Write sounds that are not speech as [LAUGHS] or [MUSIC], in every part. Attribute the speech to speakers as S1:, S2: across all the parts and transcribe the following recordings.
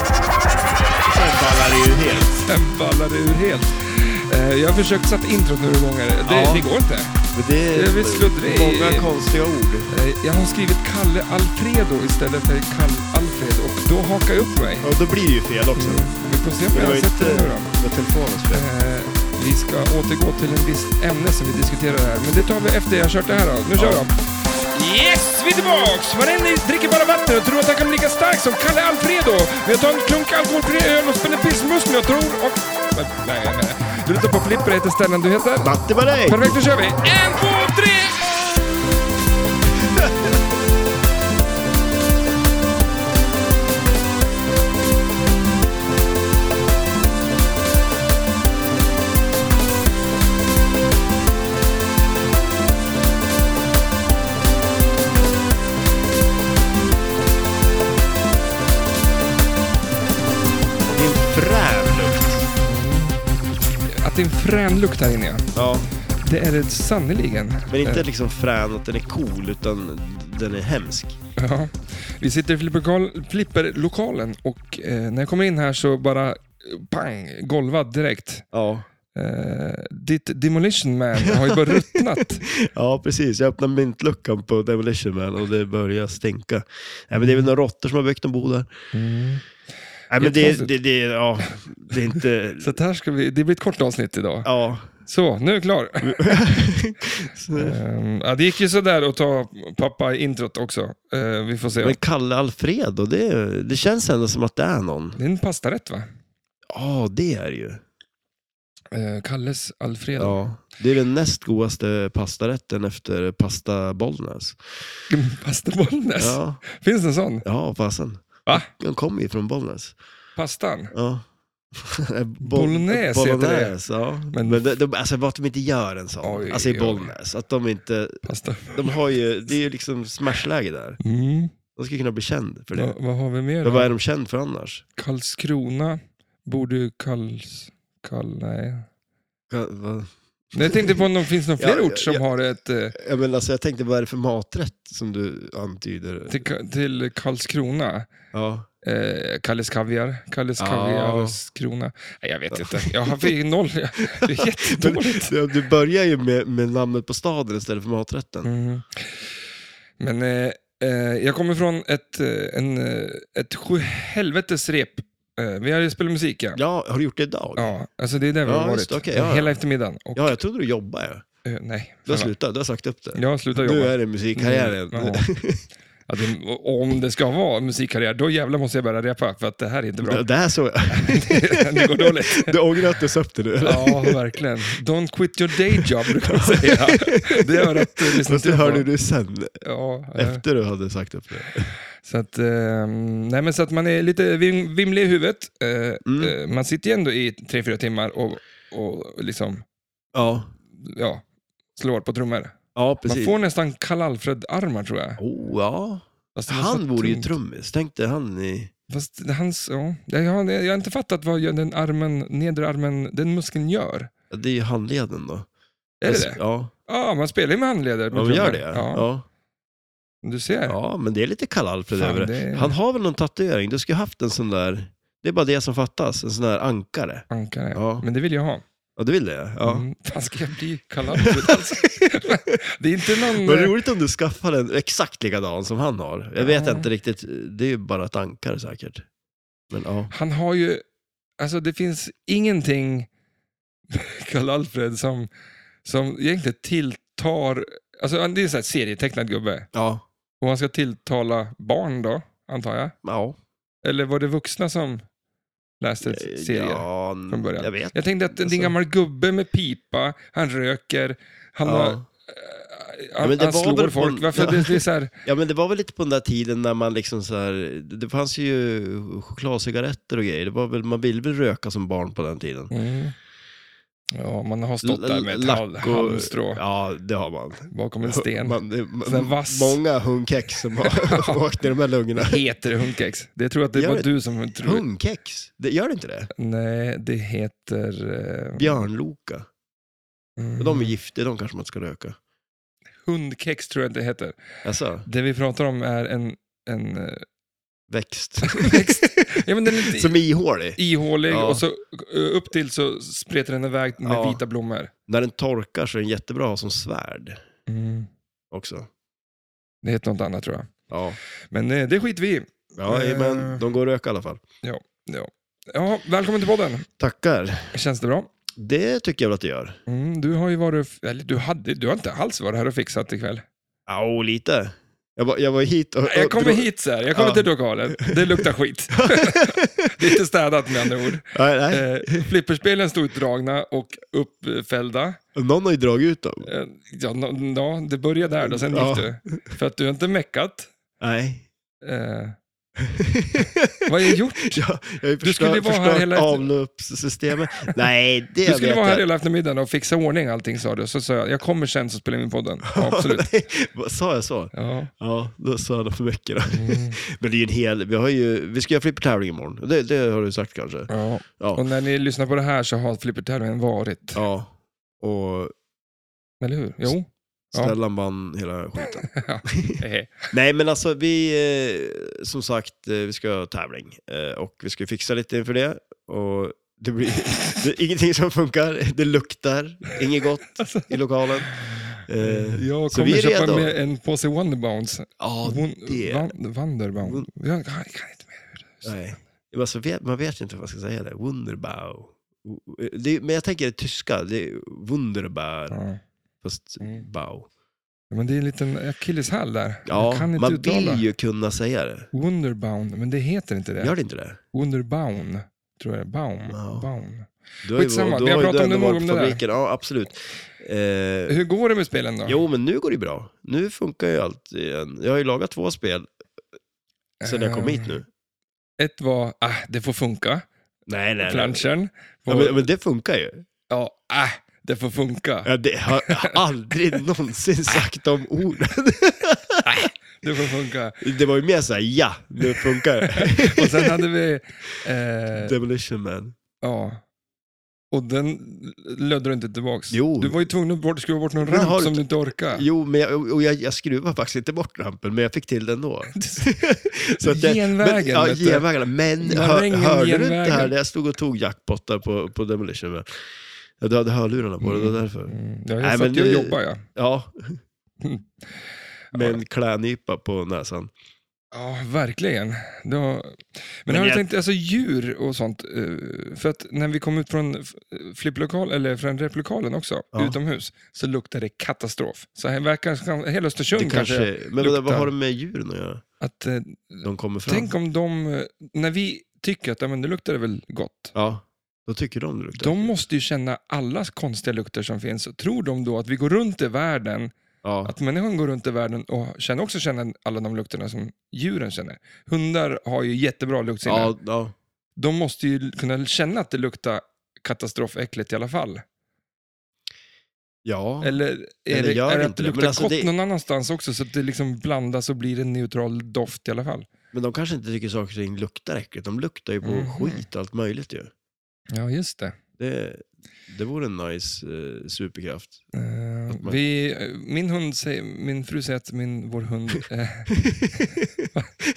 S1: Sen ballar det ju helt.
S2: Sen ballar det ur helt. Eh, Jag har försökt sätta introt nu hur gånger. Det,
S1: Ja.
S2: det går inte.
S1: Men det
S2: Det är väl sluddrig.
S1: många konstiga ord.
S2: Eh, Jag har skrivit Kalle Alfredo istället för Kalle Alfred och då hakar jag upp mig.
S1: Ja, då blir det ju fel också.
S2: Vi får se
S1: Men
S2: om Mm. jag
S1: det var ju
S2: sätter
S1: inte
S2: det nu då.
S1: med telefonens fel.
S2: Eh, Vi ska återgå till en viss ämne som vi diskuterar här, men det tar vi efter jag har kört det här då. Nu kör
S1: Ja.
S2: jag. Yes, vi är tillbaks! Varenda dricker bara vatten och tror att han kan bli lika stark som Kalle Alfredo. Vi har tagit en klunk alkoholfri öl och spänner pissmuskeln och tror och... Nej, nej, nej. Du lyssnar på Flipper, jag heter Stellan, du heter?
S1: Matte var dig!
S2: Perfekt, då kör vi! En, två, tre!
S1: Det är en frän lukt.
S2: Att det är en frän lukt här inne, ja.
S1: Ja,
S2: Det är det sannerligen.
S1: men inte
S2: Eh,
S1: liksom frän att den är cool, utan den är hemsk.
S2: Ja. Vi sitter i flipperlokal- flipperlokalen och eh, när jag kommer in här så bara eh, pang, golvad direkt.
S1: Ja.
S2: Eh, ditt Demolition Man har ju bara [LAUGHS] ruttnat.
S1: Ja, precis. Jag öppnade myntluckan på Demolition Man och det börjar stinka. Nej, men det är väl några råttor som har byggt en bo där.
S2: Mm.
S1: Nej, men det,
S2: Jättekonstigt.
S1: det, det, ja, det är inte...
S2: [LAUGHS] Så att här ska vi, det blir ett kort avsnitt idag. [LAUGHS]
S1: Ja. [LAUGHS]
S2: Så, nu är jag klar. Eh, ja, det gick ju sådär att ta pappa i introt också. Eh, vi får se.
S1: Men Kalle Alfredo, det, det känns ändå som att det är någon.
S2: Det är en pastarätt va?
S1: Ja, det är det ju.
S2: Eh, Kalles Alfredo.
S1: Ja. Det är den näst godaste pastarätten efter pasta Bollnäs.
S2: Pasta Bollnäs.
S1: Ja,
S2: Finns det en sån?
S1: ja fasen.
S2: Va?
S1: Den kommer ju från Bollnäs.
S2: Pastan?
S1: Ja. [LAUGHS] Boll-
S2: Bollnäs heter det.
S1: Bollnäs, ja.
S2: Men-
S1: Men, det, de, alltså vad de inte gör en sån.
S2: Oj,
S1: alltså i
S2: oj.
S1: Bollnäs. Att de inte,
S2: Pasta.
S1: de har ju, det är ju liksom smashläge där.
S2: Mm.
S1: De skulle kunna bli känd för det.
S2: Va, vad har vi mer?
S1: Men
S2: då?
S1: vad är de känd för annars?
S2: Karlskrona borde ju Karls... Karl, nej.
S1: Ja, va?
S2: Nej, Jag tänkte på om det finns någon fler
S1: Ja, ja,
S2: ort som
S1: ja.
S2: har ett eh,
S1: Ja, men alltså, jag tänkte, vad är det för maträtt som du antyder?
S2: till, Ka- till Karlskrona.
S1: Ja.
S2: Eh, Kalles Kaviar, Kalles
S1: Ja.
S2: Kaviars Krona. Nej, jag vet inte. Jag har fick noll.
S1: [LAUGHS]
S2: Det är jättedåligt.
S1: Du, du börjar ju med, med namnet på staden istället för maträtten.
S2: Mm. Men eh, eh, jag kommer från ett, eh, en, eh, ett sju helvetes rep. Eh, vi har ju spelat musik, ja.
S1: Ja, har du gjort det idag?
S2: Ja, alltså det är där vi
S1: Ja,
S2: har
S1: just
S2: varit.
S1: det, okej, ja, ja.
S2: Hela eftermiddagen. Och,
S1: Ja, jag trodde du jobbade. ja.
S2: eh, nej.
S1: Du har slutat, du har sagt upp det.
S2: Jag har slutat jobba.
S1: Nu är det musikkarriären.
S2: Mm, ja. Ja, det, och om det ska vara musikkarriär, då jävlar måste jag börja repa, för att det här är inte
S1: [LAUGHS]
S2: bra.
S1: Det här såg jag.
S2: [LAUGHS] det går
S1: [LAUGHS]
S2: dåligt.
S1: Du ångrar att du sa upp det nu? eller?
S2: Ja, verkligen. Don't quit your day job, brukar man säga. [LAUGHS] Det har jag rätt eh, lyssnat
S1: [LAUGHS] Fast det
S2: till
S1: hörde
S2: på.
S1: du sen,
S2: Ja, eh,
S1: efter du hade sagt upp det.
S2: så, att, eh, nej, men så att man är lite vim, vimlig i huvudet. Eh,
S1: Mm.
S2: eh, Man sitter ju ändå i tre, fyra timmar och, och liksom,
S1: Ja,
S2: ja, slår på trummor.
S1: ja
S2: Man
S1: precis.
S2: får nästan Kalle Alfred-armar, tror jag.
S1: Oh, ja.
S2: Fast det var så
S1: Han vore ju
S2: tungt.
S1: trummis, tänkte han i...
S2: Fast hans, ja, jag, har, jag har inte fattat vad gör den armen, nedre armen, den muskeln gör.
S1: Ja, Det är ju handleden då.
S2: Är det det?
S1: Ja,
S2: Ja, man spelar ju med handleder. med
S1: de Alltså- gör det.
S2: trummor. Ja.
S1: Ja.
S2: Du ser.
S1: ja, men det är lite Kalle Alfred
S2: Fan,
S1: över det.
S2: det
S1: Han
S2: han...
S1: har väl någon tatuering? Du skulle haft en sån där... Det är bara det som fattas, en sån där ankare.
S2: ankare.
S1: Ja.
S2: Men det vill jag ha.
S1: Ja, du vill det? Ja.
S2: Mm. Fan, ska jag
S1: [LAUGHS]
S2: bli Kalle Alfred alltså? det är inte någon...
S1: Vad
S2: eh,
S1: roligt om du skaffar en exakt likadan som han har. Jag vet
S2: Ja.
S1: inte riktigt, det är ju bara ett ankare säkert. Men ja.
S2: Han har ju... Alltså det finns ingenting [LAUGHS] Kalle Alfred som, som egentligen tilltar... Alltså han- det är en sån här serietecknad gubbe.
S1: Ja.
S2: Och han ska tilltala barn då, antar jag.
S1: Ja.
S2: Eller var det vuxna som läste serier?
S1: Eh, Ja, n-
S2: från början.
S1: Jag vet.
S2: Jag tänkte att det är en
S1: Alltså-
S2: gammal gubbe med pipa, han röker, han, har, eh,
S1: Ja. Ja,
S2: han,
S1: men det
S2: han
S1: var
S2: slår
S1: väl på
S2: folk.
S1: en-
S2: Varför
S1: Ja.
S2: det, det är så här,
S1: [LAUGHS] ja, men det var väl lite på den där tiden när man liksom så här, det fanns ju chokladcigaretter och grejer. Det var väl, man ville väl röka som barn på den tiden.
S2: mm. Ja, man har stått där med ett
S1: Lack
S2: hal-
S1: och-
S2: halmstrå
S1: Ja, det har man.
S2: bakom
S1: [LAUGHS]
S2: en sten.
S1: Man, det- man,
S2: Sån här vass.
S1: Många hundkex som
S2: [LAUGHS]
S1: har [LAUGHS] åkt i de här lungorna.
S2: Heter det hundkex? Det tror jag att det
S1: Jag
S2: var
S1: vet-
S2: du Mm. som tror.
S1: Hundkex? Det, gör det inte det?
S2: Nej, det heter... eh,
S1: Björnloka.
S2: mm,
S1: Men De är giftiga, de kanske man inte ska röka.
S2: Hundkex tror jag att det heter.
S1: Alltså, [LAUGHS]
S2: Det vi pratar om är en, en eh, [LAUGHS]
S1: växt.
S2: Ja, men den är
S1: [LAUGHS]
S2: lite
S1: Som är ihålig.
S2: ihålig
S1: Ja.
S2: och så eh, upp till så spretar den iväg med
S1: Ja.
S2: vita blommor.
S1: När den torkar så är den jättebra att ha som svärd också.
S2: Det heter något annat tror jag.
S1: Ja,
S2: Men eh, det skiter vi i.
S1: ja
S2: Eh.
S1: men de går att röka i alla fall.
S2: Ja, välkommen till podden.
S1: Tackar.
S2: Känns det bra?
S1: Det tycker jag väl att det gör.
S2: Mm, du har ju varit, eller du, hade, du har inte alls varit här och fixat ikväll.
S1: Ja, och lite. Jag, var- jag var hit och... och
S2: Jag kommer
S1: drog-
S2: hit [LAUGHS] så här, jag kommer
S1: Ja.
S2: till lokalen. Det luktar skit. det är inte städat med andra ord.
S1: [LAUGHS] Nej, nej.
S2: Eh, flipperspelen stod utdragna och uppfällda.
S1: Någon har ju dragit ut dem.
S2: Eh, ja, no, no, det började där då, sen
S1: Ja.
S2: gick du. För att du har inte meckat.
S1: Nej.
S2: Eh, vad har jag gjort?
S1: [LAUGHS] jag, jag har ju
S2: Du skulle
S1: förstört,
S2: vara här
S1: förstört
S2: hela-
S1: avloppssystemet. Nej, det
S2: Du skulle
S1: vet
S2: vara här
S1: jag.
S2: hela eftermiddagen och fixa ordning allting sa du. Så sa jag, jag kommer sen så spelar vi in podden. Ja, absolut.
S1: [LAUGHS] Nej, vad Sa jag så?
S2: Ja.
S1: Ja, då sa jag nog för mycket då.
S2: Mm,
S1: Men det är ju en hel... Vi, har ju, vi ska göra flippertävling imorgon. Det, det har du sagt kanske?
S2: ja.
S1: Ja.
S2: Och när ni lyssnar på det här så har flippertävlingen varit.
S1: ja. Och
S2: Eller hur? Jo. Ja.
S1: Stellan vann hela skiten.
S2: Hehe.
S1: Nej, men alltså vi... eh, Som sagt, eh, vi ska ha tävling. Eh, Och vi ska fixa lite inför det. Och det blir
S2: [LAUGHS]
S1: det är ingenting som funkar. Det luktar inget gott
S2: Alltså.
S1: i lokalen. Eh,
S2: Jag
S1: så vi
S2: kommer
S1: är
S2: köpa
S1: redo.
S2: med en påse Wonderbounce.
S1: Ja,
S2: Won-
S1: det-
S2: Wan- Wonderbounce.
S1: Won-
S2: Jag kan jag kan inte mer.
S1: Nej. Alltså, vet- man vet inte vad man ska säga där. Wunderbau. eh, Det, är- men jag tänker det tyska, det är Wunderbar,
S2: Ja.
S1: fast
S2: Mm.
S1: Bau.
S2: Men det är en liten akilleshäl där.
S1: Ja,
S2: jag kan
S1: man,
S2: inte uttala.
S1: vill ju kunna säga det.
S2: Wonderbound, men det heter inte det.
S1: Gör det inte det?
S2: Wonderbaum, tror jag. Baum.
S1: Ja.
S2: Baum.
S1: Du har ju,
S2: Skitsamma,
S1: du
S2: vi har
S1: har ju
S2: pratat om
S1: ändå
S2: det nog
S1: varit
S2: om
S1: på
S2: det där.
S1: fabriken. Ja, absolut. Eh,
S2: Hur går det med spelen då?
S1: jo, men nu går det ju bra. Nu funkar ju allt igen. Jag har ju lagat två spel sedan jag kom
S2: Eh,
S1: hit nu.
S2: Ett var, ah, det får funka,
S1: Nej, nej, nej.
S2: planschen.
S1: Ja,
S2: Och-
S1: men, men det funkar ju.
S2: ja, ah, det får funka.
S1: Ja, det har jag har
S2: [LAUGHS]
S1: aldrig någonsin sagt de orden.
S2: Det får funka.
S1: Det var ju mer såhär, ja, nu funkar
S2: [LAUGHS]
S1: det.
S2: Och sen hade vi, eh,
S1: Demolition Man.
S2: ja. Och den lödde du inte tillbaks.
S1: Jo.
S2: Du var ju tvungen att bort, skruva bort någon
S1: Men
S2: ramp
S1: har du-
S2: som du inte orkade.
S1: Jo, men jag, och jag, jag skruvade faktiskt inte bort rampen, men jag fick till den
S2: [LAUGHS]
S1: då. [LAUGHS] Så att jag-
S2: Genvägen,
S1: Men, ja,
S2: vet du.
S1: genvägarna. Men
S2: Man
S1: hör,
S2: ringer
S1: hörde du
S2: genvägen.
S1: inte här när jag stod och tog jackpottar på, på Demolition Man? Ja, du hade hörlurarna på dig, det var därför.
S2: Mm, ja, jag
S1: Nej,
S2: satt
S1: men
S2: ju och
S1: det-
S2: jobbade ja. [LAUGHS]
S1: Ja.
S2: Mm.
S1: Med en klädnypa på näsan.
S2: Ja, verkligen. Det har... Men,
S1: Men
S2: har du
S1: jag-
S2: tänkt, alltså djur och sånt, eh, för att när vi kom ut från f- flipplokal, eller från replokalen också,
S1: Ja.
S2: utomhus, så luktade det katastrof. Så här verkar hela
S1: Det
S2: Östersund kanske,
S1: kanske, men
S2: luktar.
S1: vad, vad har det med djuren att göra?
S2: att eh,
S1: De kommer fram.
S2: tänk om de, eh, när vi tycker att ja, men det luktar väl gott,
S1: Ja, då tycker de det luktar.
S2: de måste ju känna alla konstiga lukter som finns. Och Tror de då att vi går runt i världen,
S1: Ja.
S2: att människan går runt i världen och känner också känner alla de lukterna som djuren känner. Hundar har ju jättebra luktsinne.
S1: Ja, ja.
S2: de måste ju kunna känna att det luktar katastrofäckligt i alla fall.
S1: ja.
S2: Eller är
S1: Eller
S2: det,
S1: gör
S2: är det att
S1: inte det,
S2: det luktar
S1: men alltså
S2: gott
S1: det-
S2: någon annanstans också så att det liksom blandas och blir en neutral doft i alla fall?
S1: Men de kanske inte tycker saker och ting luktar äckligt. De luktar ju på
S2: Mhm.
S1: skit och allt möjligt ju.
S2: Ja, just det.
S1: Det, det vore en nice eh, superkraft.
S2: [LAUGHS]
S1: Att man-
S2: vi, eh, min, hund säger, min fru säger att min, vår hund... eh, [LAUGHS]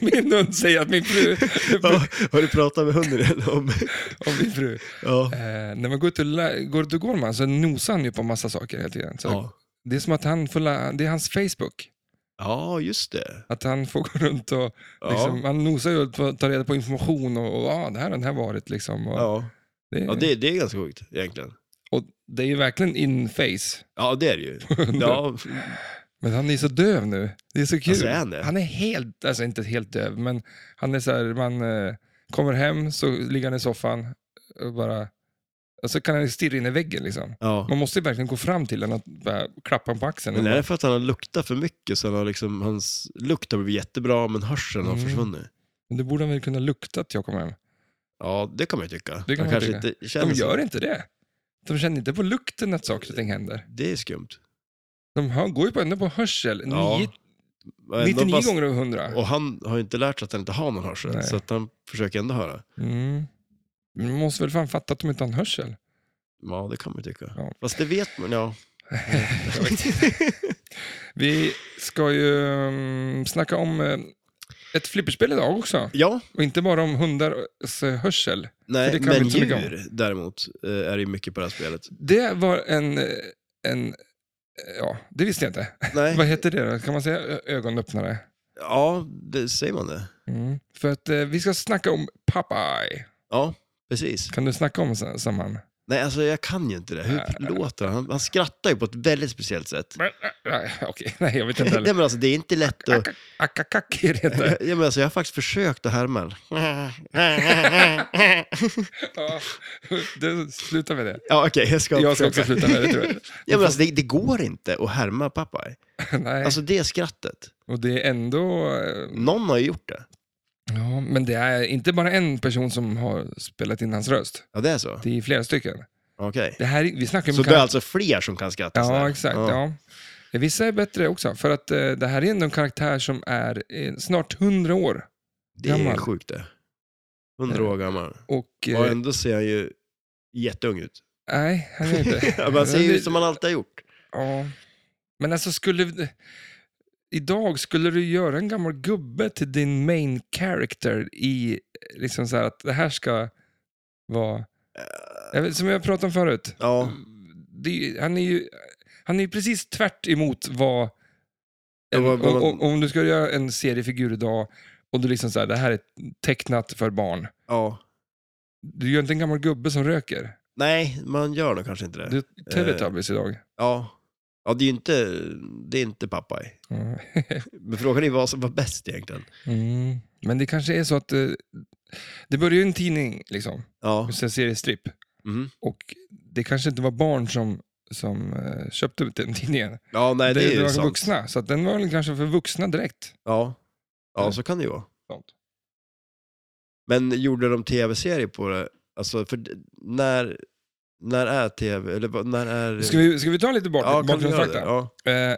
S2: min hund säger att min fru... [LAUGHS]
S1: Ja, har du pratat med hunden än om?
S2: Om min fru.
S1: Ja.
S2: Eh, när man går ut och lä- går, ut och går man så nosar han ju på massa saker hela tiden. Så
S1: Ja.
S2: Det är som att han får lä- det är hans Facebook.
S1: ja, just det.
S2: Att han får gå runt och
S1: Ja.
S2: Liksom, man nosar ju på att ta reda på information och, och ja, det här har den här varit liksom. Och
S1: Ja.
S2: det,
S1: ja, det, det är ganska sjukt egentligen.
S2: och det är ju verkligen in face.
S1: Ja, det är det
S2: [LAUGHS]
S1: ju. Ja,
S2: Men han är så döv nu. Det är så kul.
S1: Alltså, är han det?
S2: han är helt, alltså inte helt döv, men han är så här, man eh, kommer hem så ligger han i soffan och bara, och så kan han stirra in i väggen liksom.
S1: ja.
S2: Man måste ju verkligen gå fram till honom och bara klappa honom på axeln.
S1: Men är det för att han har luktat för mycket så han har liksom, hans lukt har blivit jättebra men hörseln har
S2: Mm.
S1: försvunnit?
S2: Men det borde han väl kunna lukta att jag kommer hem.
S1: Ja, det kan man ju tycka.
S2: Det kan
S1: han
S2: man
S1: kanske
S2: tycka.
S1: inte känner
S2: De
S1: så.
S2: gör inte det. De känner inte på lukten att saker och ting händer.
S1: Det är skumt.
S2: De hör, går ju på- ändå på hörsel.
S1: Ja.
S2: Nio
S1: Men de
S2: 99
S1: bara-
S2: gånger över 100.
S1: Och han har ju inte lärt sig att han inte har någon hörsel,
S2: Nej.
S1: så att han försöker ändå höra.
S2: Mm. Man måste väl fan fatta att de inte har en hörsel.
S1: Ja, det kan man ju tycka.
S2: Ja.
S1: Fast det vet man,
S2: [LAUGHS]
S1: ja.
S2: Vi ska ju um, snacka mm, om eh, ett flipperspel idag också.
S1: Ja,
S2: Och inte bara om hundars eh, hörsel.
S1: nej,
S2: det kan vi
S1: men
S2: inte så mycket om.
S1: djur däremot eh, är det ju mycket på det här spelet.
S2: Det var en... eh, en ja, det visste jag inte. Vad
S1: Nej,
S2: heter det då? Kan man säga ö- ögonöppnare?
S1: ja, det, säger man det?
S2: Mm. För att eh, vi ska snacka om Popeye.
S1: Ja, precis.
S2: Kan du snacka om sa- samman?
S1: Nej, alltså jag kan ju inte det. Hur låter han? han? Han skrattar ju på ett väldigt speciellt sätt.
S2: Men, eh, nej, [LAUGHS] Okej, nej jag vet inte
S1: Nej,
S2: heller.
S1: men alltså det är inte lätt att... [LAUGHS]
S2: Akakaki heter
S1: Ja, men alltså, jag har faktiskt försökt att härma
S2: [LAUGHS]
S1: den.
S2: Ja, [LAUGHS] Du, sluta med det.
S1: Ja, okej, jag ska
S2: Jag ska också
S1: försöka.
S2: sluta med det tror jag.
S1: [LAUGHS] Ja, men alltså, det, det går inte att härma Popeye.
S2: Nej,
S1: Alltså det skrattet.
S2: och det är ändå... eh,
S1: Någon har ju gjort det.
S2: Ja, men det är inte bara en person som har spelat in hans röst.
S1: Ja, det är så.
S2: Det är flera stycken.
S1: Okej.
S2: Det här, vi snackar om...
S1: Så det är alltså fler som kan skratta sådär?
S2: Ja, exakt. Ja. Vissa är bättre också, för att eh, det här är ändå en karaktär som är eh, snart 100 år.
S1: Det är
S2: Gammal.
S1: sjukt det. Hundra år gammal.
S2: Och, eh,
S1: Och ändå ser han ju jätteung ut.
S2: Nej, han är inte.
S1: [LAUGHS] Ja, Man ser ju ut som han alltid har gjort.
S2: Ja. Men alltså skulle... Idag skulle du göra en gammal gubbe till din main character i eh, liksom så här att det här ska vara...
S1: Eh.
S2: Jag vet, som jag pratade om förut.
S1: Ja,
S2: Det, är ju- han är ju han är ju precis tvärt emot vad...
S1: Ja,
S2: En,
S1: vad- vad-
S2: om, om du ska göra en seriefigur idag och du liksom så här, det här är tecknat för barn.
S1: ja.
S2: Du gör inte en gammal gubbe som röker.
S1: Nej, man gör nog kanske inte
S2: Du
S1: det.
S2: är Teletubbies idag.
S1: Ja. Ja, det är ju inte, det är inte Popeye.
S2: Ja.
S1: Men frågan är vad som var bäst egentligen.
S2: Mm. Men det kanske är så att eh, det börjar ju en tidning, liksom,
S1: Ja.
S2: en seriestripp.
S1: Mhm.
S2: Och det kanske inte var barn som, som eh, köpte ut den tidningen.
S1: Ja, nej, det, är
S2: det
S1: ju
S2: var
S1: sant.
S2: vuxna, så att den var väl kanske för vuxna direkt.
S1: Ja. ja,
S2: Eller?
S1: så kan det ju vara.
S2: Sånt.
S1: Men gjorde de tv-serier på det? Alltså, för d- när, när är tv, eller vad- när är...
S2: Ska vi, ska vi ta lite bort,
S1: ja, kan vi göra det?
S2: bakgrundsfakta?
S1: Ja.
S2: Eh,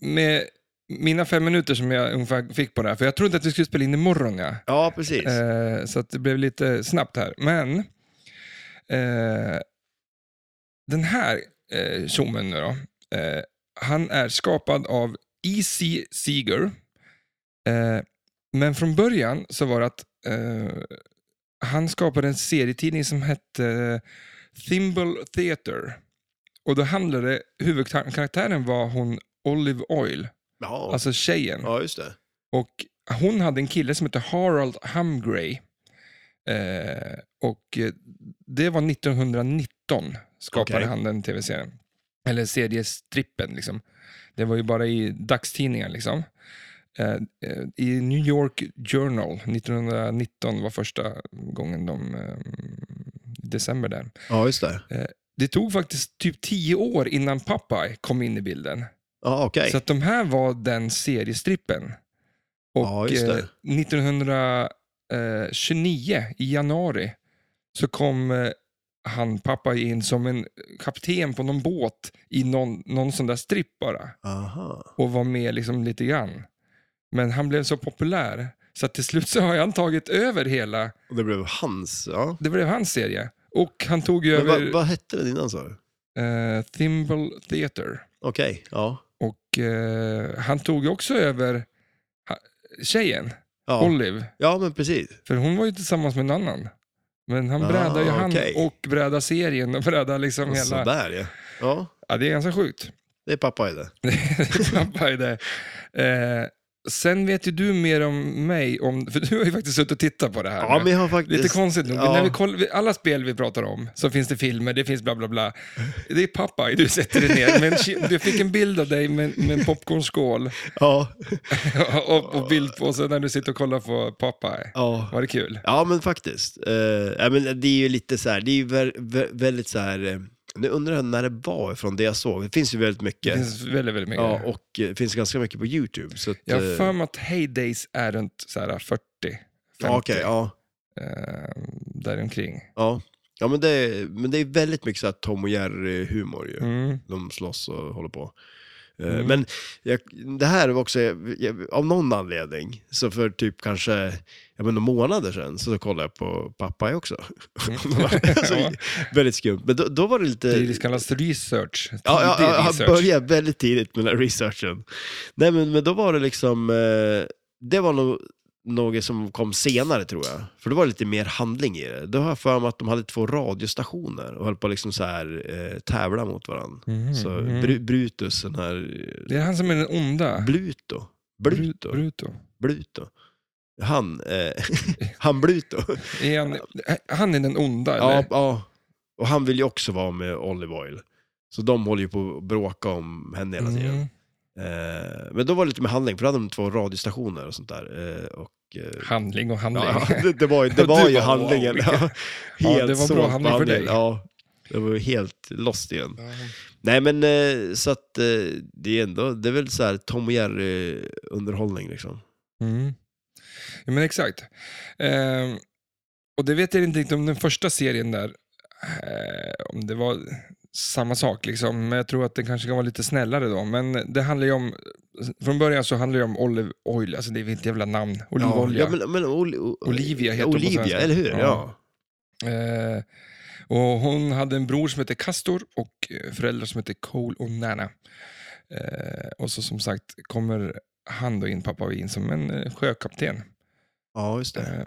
S2: med mina fem minuter som jag ungefär fick på det här, för jag trodde att vi skulle spela in imorgon, ja.
S1: ja, precis.
S2: Eh, så att det blev lite snabbt här. Men eh, den här eh, tjommen nu då, eh, han är skapad av E.C. Seeger. Eh, men från början så var det att eh, han skapade en serietidning som hette eh, Thimble Theater. Och då handlade huvudkaraktären var hon Olive Oil,
S1: ja.
S2: alltså tjejen.
S1: ja, just det.
S2: Och hon hade en kille som hette Harald Humgray. Eh, och eh, det var 1919 skapade
S1: Okej.
S2: han den tv-serien. Eller seriestrippen liksom. Det var ju bara i dagstidningar liksom. Eh, eh, I New York Journal 1919 var första gången de... Eh, december där.
S1: Ja, just det.
S2: Det tog faktiskt typ tio år innan Popeye kom in i bilden.
S1: Ja, okej.
S2: Så att de här var den seriestrippen. Och
S1: Ja, just det.
S2: eh, 1929 i januari så kom eh, han pappa in som en kapten på någon båt i någon, någon sån där stripp bara
S1: Aha.
S2: och var med liksom lite grann. Men han blev så populär så att till slut så har han tagit över hela,
S1: Och det blev hans, ja.
S2: det blev hans serie. Och han tog ju
S1: Men
S2: över
S1: vad, vad hette den innan sa du?
S2: eh, Thimble Theater.
S1: Okej, ja.
S2: Och eh, han tog ju också över ha, tjejen,
S1: ja.
S2: Olive.
S1: Ja, men precis.
S2: För hon var ju tillsammans med en annan. Men han
S1: Ah,
S2: brädade ju han
S1: okej.
S2: och brädade serien och brädade liksom hela...
S1: Sådär ja. Ja,
S2: Ja, det är ganska sjukt. [LAUGHS]
S1: det är Popeye det.
S2: Pappa är det. Eh, sen vet ju du mer om mig, om, för du har ju faktiskt suttit och tittat på det här.
S1: Ja,
S2: nu.
S1: men jag har
S2: Lite
S1: faktiskt...
S2: konstigt nog. men
S1: ja.
S2: När vi kollar, alla spel vi pratar om, så finns det filmer, det finns bla bla bla. Det är pappa du sätter dig ner. Men ki- du fick en bild av dig med, med en popcornskål [LAUGHS]
S1: Ja,
S2: och, och bild på sig när du sitter och kollar på Popeye.
S1: ja.
S2: Var det kul?
S1: Ja, men faktiskt. Eh, ja, men det är ju lite så här, det är ju vä- vä- väldigt så här, eh, nu undrar jag när det var från det jag såg. Det finns ju väldigt
S2: Det
S1: mycket.
S2: finns väldigt, väldigt mycket.
S1: ja, och eh, det finns ganska mycket på YouTube. Så att,
S2: jag har
S1: eh,
S2: för mig att Heydays är runt så här 40, 50,
S1: ja, okej, ja,
S2: eh, däromkring.
S1: ja. Ja, men det, är- men det är väldigt mycket så här Tom och Jerry-humor ju.
S2: Mm.
S1: De slåss och håller på. Eh,
S2: Mm.
S1: Men jag, det här var också, jag, av någon anledning, så för typ kanske jag menar, månader sedan så kollade jag på Pappa också. [LAUGHS] [LAUGHS] alltså,
S2: Mm. [LAUGHS] Ja.
S1: Väldigt skumt. Men då, då var det lite...
S2: Det är det som kallas research. Tidig
S1: Ja, ja, ja, han
S2: research.
S1: började väldigt tidigt med den här researchen. Nej, men, men då var det liksom, eh, det var nog något som kom senare tror jag. För då var det lite mer handling i det. Då har jag för mig att de hade två radiostationer och höll på att liksom så här, eh, tävla mot varandra. Så
S2: Mhm.
S1: Bru- Brutus, den här...
S2: Mm,
S1: eh,
S2: Det är han som är den onda.
S1: Bluto?
S2: Bru-
S1: Bluto?
S2: Bruto.
S1: Bluto? Han,
S2: [LAUGHS]
S1: eh, han Bluto.
S2: Är han, han är den onda,
S1: Ja,
S2: eller?
S1: ja. Och han vill ju också vara med Olive Oil. Så de håller ju på att bråka om henne hela tiden.
S2: Mm.
S1: Eh, men då var det lite med handling, för då hade de två radiostationer och sånt där. Eh, och, eh,
S2: Handling och handling.
S1: ja, [LAUGHS] det, det var, ju- det
S2: [LAUGHS] Du
S1: var ju
S2: bara, wow,
S1: handlingen.
S2: vilken-
S1: [LAUGHS] Ja,
S2: Ja, det var
S1: såld
S2: bra
S1: på
S2: handling för dig.
S1: Ja, det var ju helt lost igen.
S2: Ja. [LAUGHS]
S1: Nej men eh, så att eh, det är ändå, det är väl så här Tom och Jerry underhållning liksom.
S2: Mm. Ja, men exakt. Ehm, och det vet jag inte riktigt om den första serien där, eh, om det var samma sak. Liksom. Men jag tror att den kanske kan vara lite snällare då. Men det handlar ju om, från början så handlar det om Olive Oil, alltså det är väl ett jävla namn, olivolja.
S1: Ja, men, men, Oli- o-
S2: Olivia heter hon på
S1: Olivia,
S2: svenska.
S1: eller hur? Ja.
S2: Ja. Eh, och hon hade en bror som hette Castor och eh, föräldrar som hette Cole och Nana. Eh, och så som sagt kommer han då in, pappa in, som en eh, sjökapten.
S1: ja, just det.
S2: Eh,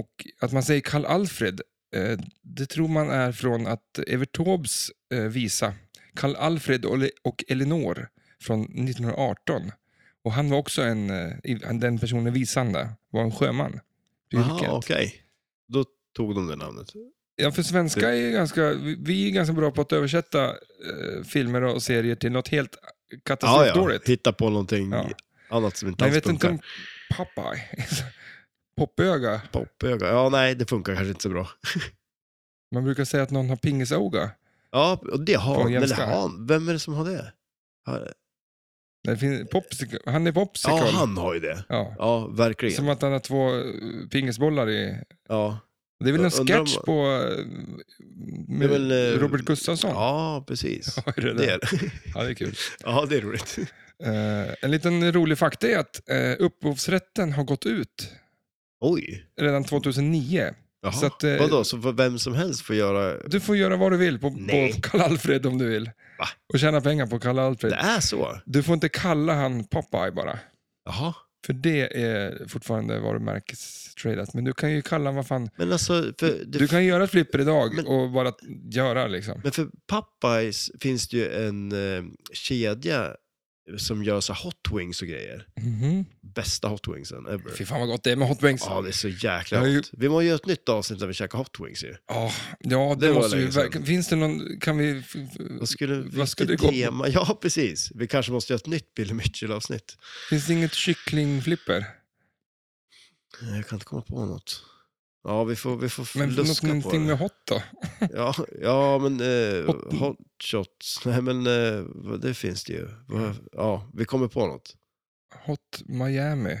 S2: och att man säger Karl Alfred, eh, det tror man är från att Evert Taubes eh, visa Karl Alfred och Le- och Elinor från 1918. Och han var också en, eh, i- den personen visan där, var en sjöman. i yrket.
S1: Jaha, okej. Då tog de det namnet.
S2: Ja, för svenska är ju ganska, vi- vi är ganska bra på att översätta eh, filmer och serier till något helt katastrofdåligt.
S1: Hitta på någonting
S2: Ja.
S1: annat som inte
S2: Men jag
S1: alls
S2: vet inte
S1: funkar.
S2: om Popeye, [LAUGHS] poppöga,
S1: Poppöga. Ja, nej, det funkar kanske inte så bra.
S2: man brukar säga att någon har pingisöga.
S1: Ja, och det har
S2: Från
S1: han. Eller
S2: Jämsta.
S1: han. Vem är det som har det? Har-
S2: Det finns, popsicle, han är popsicle.
S1: Ja, han har ju det.
S2: Ja.
S1: Ja, verkligen.
S2: Som att han har två eh, pingisbollar i...
S1: Ja.
S2: Det är väl en
S1: Jag undrar om-
S2: sketch på eh,
S1: Det är
S2: med
S1: väl, eh,
S2: Robert Gustafsson? [LAUGHS]
S1: Ja, precis.
S2: Ja, är det
S1: Det
S2: det?
S1: är [LAUGHS] det.
S2: Ja, det är kul.
S1: Ja, det är roligt.
S2: Eh, en liten rolig fakta är att eh, upphovsrätten har gått ut
S1: Oj.
S2: redan 2009.
S1: Jaha.
S2: Så att, eh,
S1: Vadå, så för vem som helst får göra...
S2: Du får göra vad du vill på, på
S1: Nej.
S2: Karl-Alfred om du vill.
S1: Va?
S2: Och tjäna pengar på Karl-Alfred.
S1: Det är så?
S2: Du får inte kalla han Popeye bara.
S1: Jaha.
S2: För det är fortfarande varumärkestradat. Men du kan ju kalla han vad fan...
S1: Men alltså, för, det,
S2: Du kan göra ett flipper idag
S1: Men-
S2: och bara göra liksom.
S1: men för Popeyes finns det ju en eh, kedja som gör så här hot wings och grejer.
S2: Mhm.
S1: Bästa hot wingsen ever.
S2: Fy fan vad gott det är med hot wings.
S1: Ja, det är så jäkla
S2: Jag har ju-
S1: gott. Vi måste göra ett nytt avsnitt där vi käkar hot wings ju.
S2: Ja, ja, det,
S1: Det var
S2: måste vi
S1: länge sedan.
S2: verkligen... Finns det någon... Kan vi... f- f-
S1: Vad skulle, vilket
S2: skulle det gå på?
S1: tema? [LAUGHS] Ja, precis. Vi kanske måste göra ett nytt Billy Mitchell-avsnitt.
S2: Finns det inget kycklingflipper?
S1: Nej, Jag kan inte komma på något. Ja, vi får, vi får
S2: Men något,
S1: luska på det.
S2: någonting med hot då?
S1: Ja, ja, men eh,
S2: Hot-
S1: hot shots. Nej, men eh, vad- det finns det ju.
S2: Mm.
S1: Vad- Ja, vi kommer på något.
S2: Hot Miami.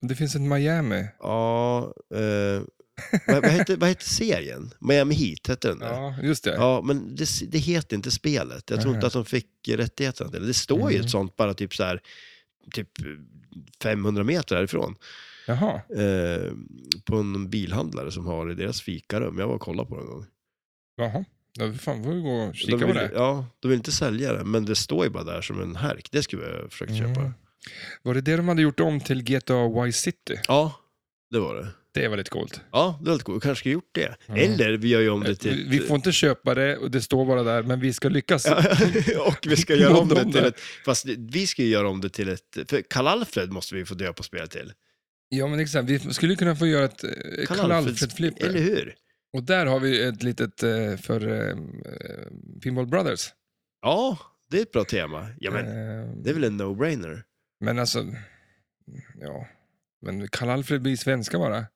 S2: Det finns ett Miami.
S1: Ja, eh, vad, vad, heter, vad heter serien? Miami Heat hette den där.
S2: Ja, just det.
S1: Ja, men det, det heter inte spelet. Jag tror
S2: Nej.
S1: inte att de fick rättigheterna till det. Det står ju
S2: Mm.
S1: ett sånt bara typ så här, typ 500 meter härifrån.
S2: Jaha.
S1: Eh, på en bilhandlare som har i deras fikarum. Jag var och kollade på det en gång.
S2: Jaha. Ja, fan, får vi gå och
S1: De
S2: kika på
S1: vill,
S2: det.
S1: ja, de vill inte sälja det, men det står ju bara där som en härk. Det skulle jag försökt
S2: Mm.
S1: köpa.
S2: Var det det de hade gjort om till GTA Vice City?
S1: Ja, det var det.
S2: Det var lite coolt.
S1: Ja, det var lite coolt. Vi kanske skulle gjort det.
S2: Mm.
S1: Eller vi gör ju om det
S2: Vi
S1: till...
S2: vi får inte köpa det och det står bara där, men vi ska lyckas.
S1: Ja, [LAUGHS]
S2: [LAUGHS]
S1: och vi ska göra om
S2: Någon
S1: det
S2: om
S1: till
S2: det.
S1: ett... Fast det- vi ska ju göra om det till ett... För Karl-Alfred måste vi få döpa spelet till.
S2: Ja, men exakt. Vi skulle kunna få göra ett eh, Karl Alfred-flipper.
S1: Eller hur?
S2: Och där har vi ett litet eh, för eh, eh, Pinball Brothers.
S1: Ja, det är ett bra tema. Ja, men,
S2: Eh,
S1: Det är väl en no-brainer?
S2: Men alltså, ja. Men Karl Alfred blir svenska bara. Det är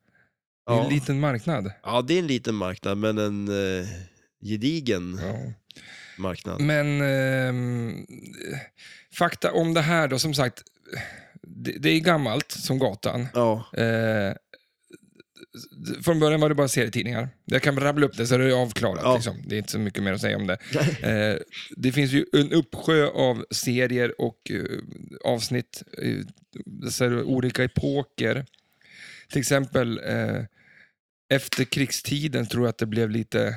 S1: Ja.
S2: en liten marknad.
S1: ja, det är en liten marknad, men en eh, gedigen
S2: Ja.
S1: marknad.
S2: Men ehm, fakta om det här då, som sagt. Det, det är gammalt som gatan.
S1: Ja,
S2: Eh, från början var det bara serietidningar. Jag kan rabbla upp det så är det avklarat.
S1: Ja.
S2: Liksom. Det är inte så mycket mer att säga om det. Eh, det finns ju en uppsjö av serier och eh, avsnitt. Eh, så här, olika epoker. Till exempel eh, efter krigstiden tror jag att det blev lite